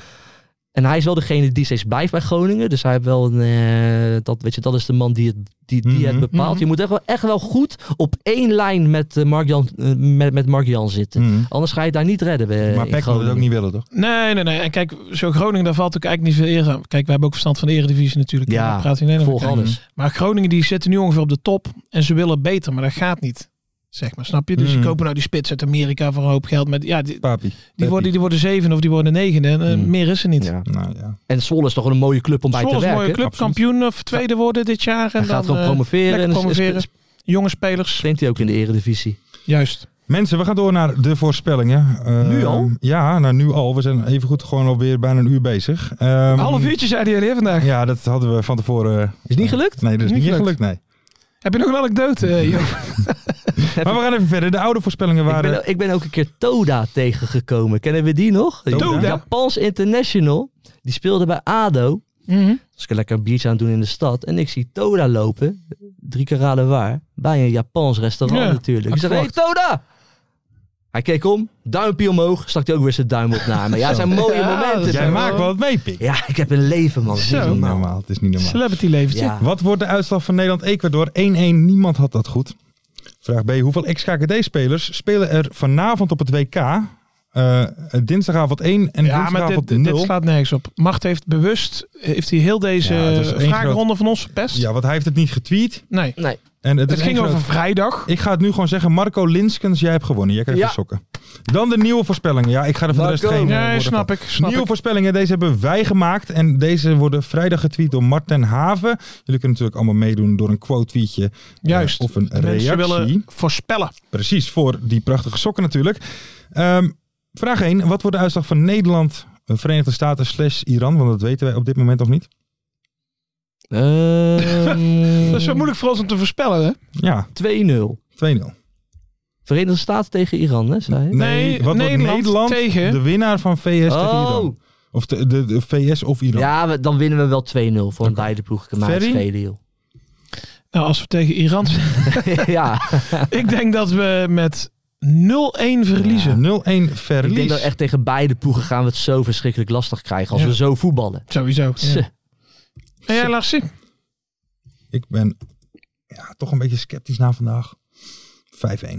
A: En hij is wel degene die steeds blijft bij Groningen. Dus hij heeft wel een, eh, dat, weet je, dat is de man die het, die, die het
C: Mhm.
A: bepaalt.
D: Mhm.
A: Je moet echt wel, echt wel goed op één lijn met, eh, Mark, Jan, eh, met, met Mark Jan zitten.
C: Mhm.
A: Anders ga je het daar niet redden. bij-
C: Maar
A: in
C: Peck wil het
A: Groningen.
C: ook niet willen, toch?
D: Nee, nee, nee. En kijk, zo Groningen, daar valt ook eigenlijk niet veel eer aan. Kijk, we hebben ook verstand van de eredivisie natuurlijk.
A: Ja,
D: Daar praat je in
A: Volg
D: Nederland.
A: alles.
D: Maar Groningen, die zitten nu ongeveer op de top. En ze willen beter, maar dat gaat niet. Zeg maar, snap je?
A: Hmm.
D: Dus
C: Mm.
D: je kopen nou die spits uit Amerika voor een hoop geld. Met, ja, die,
C: Papi.
D: die,
C: Peppie.
D: worden, die worden zeven of die worden negende. En eh,
A: Mm.
D: meer is er niet.
A: Ja.
C: Nou Hmm. ja.
A: En Zwolle is toch een mooie club om bij
D: Zwolle
A: te
D: is een
A: werken.
D: mooie club,
C: absoluut.
D: kampioen of tweede worden dit jaar. En
A: Hij gaat
D: dan,
A: gewoon
D: eh,
A: promoveren.
D: lekker
A: en dan
D: promoveren.
A: sp-
D: jonge spelers.
A: springt hij ook in de eredivisie.
D: Juist.
C: Mensen, we gaan door naar de voorspellingen. Eh,
A: Nu al?
C: Ja, nou nu al. We zijn evengoed gewoon alweer bijna een uur bezig. Ehm,
D: Een half uurtje zei hij alleen vandaag.
C: Ja, dat hadden we van tevoren... eh,
A: Is niet gelukt?
C: Nee, dat is niet gelukt, nee.
D: Heb je nog een anekdote, eh, Joop?
C: Maar we gaan even verder. De oude voorspellingen
A: Ik
C: waren...
D: eh?
A: ben, ik ben ook een keer Toda tegengekomen. Kennen we die nog? Een
C: Toda?
A: Japans international. Die speelde bij ADO.
D: Mhm.
A: Dus ik een lekker een biertje aan het doen in de stad. En ik zie Toda lopen. Drie keer raden waar. Bij een Japans restaurant
D: Ja,
A: natuurlijk.
D: had
A: Ik zeg, hé hey,
D: verwacht.
A: Toda! Hij keek om, duimpje omhoog, stak hij ook weer zijn duim op naar me. Ja, het zijn mooie
D: Ja,
A: momenten.
D: dat
C: Jij
D: Zo.
C: maakt wel het mee, Pik. Het
A: Ja, ik heb een leven, man. Dat is
D: Zo.
A: niet
C: is
D: nou,
C: niet
A: normaal.
C: normaal. Het is niet normaal.
D: Celebrity leventje.
A: Ja.
C: Wat wordt de uitslag van Nederland-Ecuador? 1-1. Niemand had dat goed. Vraag B. Hoeveel ex-KKD-spelers spelen er vanavond op het WK? Eh, dinsdagavond 1 en
D: Ja, maar
C: woensdagavond
D: dit, dit
C: 0.
D: slaat nergens op. Macht heeft bewust, heeft hij heel deze
C: Ja, het was
D: eh,
C: één
D: vragenronde van ons verpest?
C: Ja, want hij heeft het niet getweet.
D: Nee. Het,
A: Nee.
C: En het is één
D: ging
C: groot-
D: over vrijdag.
C: Ik ga het nu gewoon zeggen. Marco Linskens, jij hebt gewonnen. Jij krijgt
A: Ja.
C: de sokken. Dan de nieuwe voorspellingen. Ja, ik ga er van de rest
A: Marco.
C: geen eh,
D: Nee,
C: woorden van.
D: snap ik. Snap
C: Nieuwe
D: ik.
C: voorspellingen, deze hebben wij gemaakt. En deze worden vrijdag getweet door Marten Haven. Jullie kunnen natuurlijk allemaal meedoen door een quote-tweetje. eh,
D: Juist.
C: of een
D: De Mensen
C: reactie.
D: willen voorspellen.
C: Precies, voor die prachtige sokken natuurlijk. Ehm, vraag 1. Wat wordt de uitslag van Nederland, eh, Verenigde Staten slash Iran? Want dat weten wij op dit moment nog niet.
A: Ehm,
D: Dat is wel moeilijk Dus voor ons om te voorspellen, hè?
C: Ja,
A: 2-0.
C: 2-0.
A: Verenigde Staten tegen Iran, hè, zei hij.
D: Nee,
C: wat wordt
D: Nederland
C: Nederland
D: tegen-
C: de winnaar van VS tegen Iran? Of de, de, de VS of Iran?
A: Oh. Ja, we- dan winnen we wel 2-0 voor een beide ploegen. Kan mij het
C: Ferry?
A: schelen, joh.
D: Nou, als we tegen Iran zijn.
A: ja,
D: ik denk dat we met 0-1 verliezen.
C: 0-1
A: ik denk
C: verlies.
A: dat echt tegen beide ploegen gaan we het zo verschrikkelijk lastig krijgen als
D: Ja.
A: we zo voetballen.
D: Sowieso.
A: Tse.
D: En jij, Larsie?
C: Ik ben ja, toch een beetje sceptisch na vandaag. 5-1.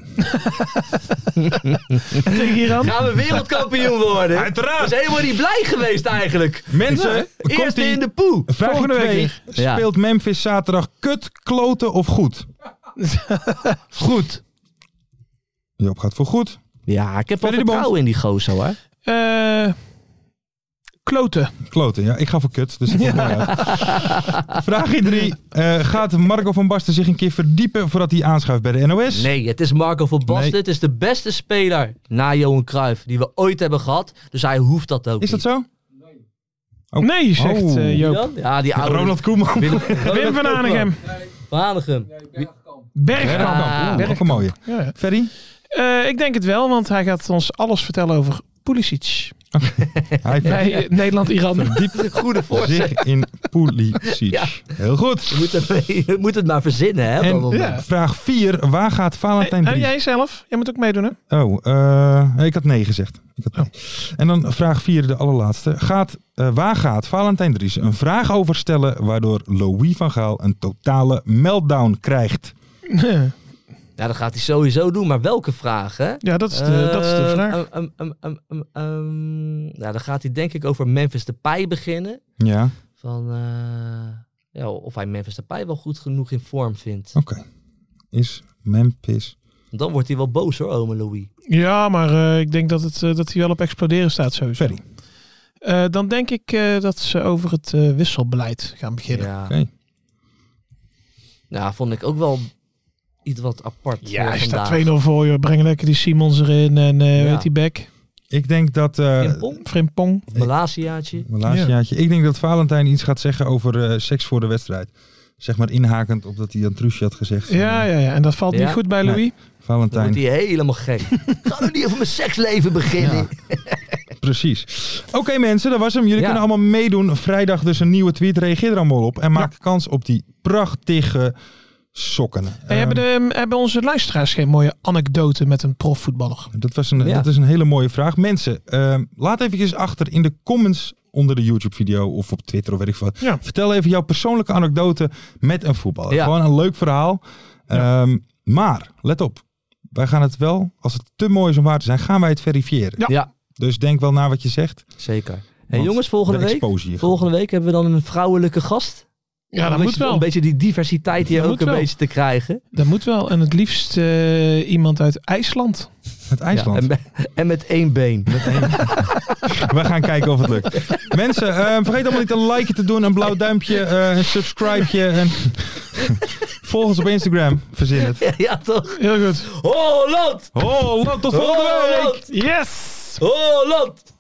D: Tegen Iran?
A: Gaan we wereldkampioen worden?
C: Uiteraard.
A: We zijn helemaal niet blij geweest eigenlijk.
C: Mensen, komt
A: Eerst
C: ie.
A: in de poe.
C: Vraag
D: Volgende
C: twee.
D: week
A: Ja.
C: Speelt Memphis zaterdag kut, kloten of goed?
A: Goed.
C: Joop gaat voor goed.
A: Ja, ik heb wel
C: Ferry de Bond.
A: vertrouwen in die gozer hoor.
D: Eh, kloten.
C: Kloten, ja. Ik ga voor kut, dus dat komt mooi uit. Vraagje 3. Eh, gaat Marco van Basten zich een keer verdiepen voordat hij aanschuift bij de NOS?
A: Nee, het is Marco van Basten.
C: Nee.
A: Het is de beste speler na Johan Cruijff die we ooit hebben gehad. Dus hij hoeft dat ook
C: Is dat
A: niet.
C: zo? Oh.
D: Nee, zegt
C: Oh.
D: eh, Joop.
A: Dan? Ja, die oude...
C: Ronald Koeman.
A: Willem-
D: Wim van Hanegem.
A: Van Hanegem.
D: Bergkamp.
A: Ah,
C: Bergkamp. Oeh, ook een mooie.
D: Ja, ja.
C: Ferry?
D: Eh, ik denk het wel, want hij gaat ons alles vertellen over Pulisic.
C: Hij
D: Bij eh, Nederland-Iran.
C: verdiept
A: Goede voorzet.
C: zich in Pulisic.
A: Ja.
C: Heel goed.
A: Je moet, het, je moet het maar verzinnen, hè? op dat
C: En
A: moment.
D: ja.
C: vraag 4. Waar gaat Valentijn
D: En
C: Dries?
D: jij zelf? Jij moet ook meedoen, hè?
C: Oh, eh, ik had nee gezegd. Ik
D: Oh.
C: had nee. En dan vraag 4, de allerlaatste. Gaat, eh, waar gaat Valentijn Dries een vraag over stellen waardoor Louis van Gaal een totale meltdown krijgt?
A: Ja, dat gaat hij sowieso doen. Maar welke vraag, hè?
D: Ja, dat is de, dat is de
A: Eh,
D: vraag.
A: ehm, ehm, ehm, ehm, ehm, ja, dan gaat hij denk ik over Memphis Depay beginnen.
C: Ja,
A: Van, eh, ja, of hij Memphis Depay wel goed genoeg in vorm vindt.
C: oké. Is Memphis.
A: Dan wordt hij wel boos hoor, ome Louis.
D: Ja, maar eh, ik denk dat, het, eh, dat hij wel op exploderen staat sowieso.
C: Ferry.
D: Eh, dan denk ik eh, dat ze over het eh, wisselbeleid gaan beginnen.
A: Ja.
C: Oké.
A: ja, vond ik ook wel iets wat apart
D: Ja,
A: eh,
D: hij
A: vandaag.
D: staat 2-0 voor je. Breng lekker die Simons erin en eh
A: Ja.
D: weet die back.
C: Ik denk dat. eh
A: Frimpong?
D: Frimpong.
A: Of Malasiaatje?
C: mijn laatste
D: Ja.
C: jaartje. Ik denk dat Valentijn iets gaat zeggen over eh, seks voor de wedstrijd. Zeg maar inhakend op dat hij aan Truusje had gezegd.
D: Ja, ja, ja. En dat valt
A: Ja.
D: niet goed bij
C: Nee.
D: Louis.
A: Dan
C: Valentijn.
A: wordt hij helemaal gek. Ga nou niet over mijn seksleven beginnen.
C: Precies. Oké mensen, dat was hem. Jullie
A: Ja.
C: kunnen allemaal meedoen. Vrijdag dus een nieuwe tweet. Reageer er allemaal op. En maak kans op die prachtige sokken. Ehm,
D: Hey, hebben, de, hebben onze luisteraars geen mooie anekdote met een profvoetballer?
C: Dat, was een,
A: Ja.
C: dat is een hele mooie vraag. Mensen, ehm, laat even achter in de comments onder de YouTube-video of op Twitter of weet ik wat.
D: Ja.
C: Vertel even jouw persoonlijke anekdote met een voetballer.
A: Ja.
C: Gewoon een leuk verhaal. Ehm, maar, let op. Wij gaan het wel, als het te mooi is om waar te zijn, gaan wij het verifiëren.
D: Ja.
A: Ja.
C: Dus denk wel na wat je zegt.
A: Zeker. Hey,
C: Want
A: jongens, volgende
C: de
A: week,
C: exposure.
A: volgende week hebben we dan een vrouwelijke gast.
D: Ja, dat
A: Om een
D: moet
A: beetje- om
D: wel.
A: Een beetje die diversiteit hier
D: Dat
A: ook
D: moet
A: een
D: wel.
A: beetje te krijgen.
D: Dat moet wel. En het liefst eh, iemand uit IJsland.
C: Het IJsland.
A: Ja, en, en met één been.
C: We gaan kijken of het lukt. Mensen, eh, vergeet allemaal niet een like te doen, een blauw duimpje, eh, een subscribeje. En... Volg ons op Instagram, verzin het.
A: ja, toch?
D: Heel goed.
A: Holland!
C: Holland, tot Oh, volgende week!
A: Holland!
D: Yes!
A: Holland!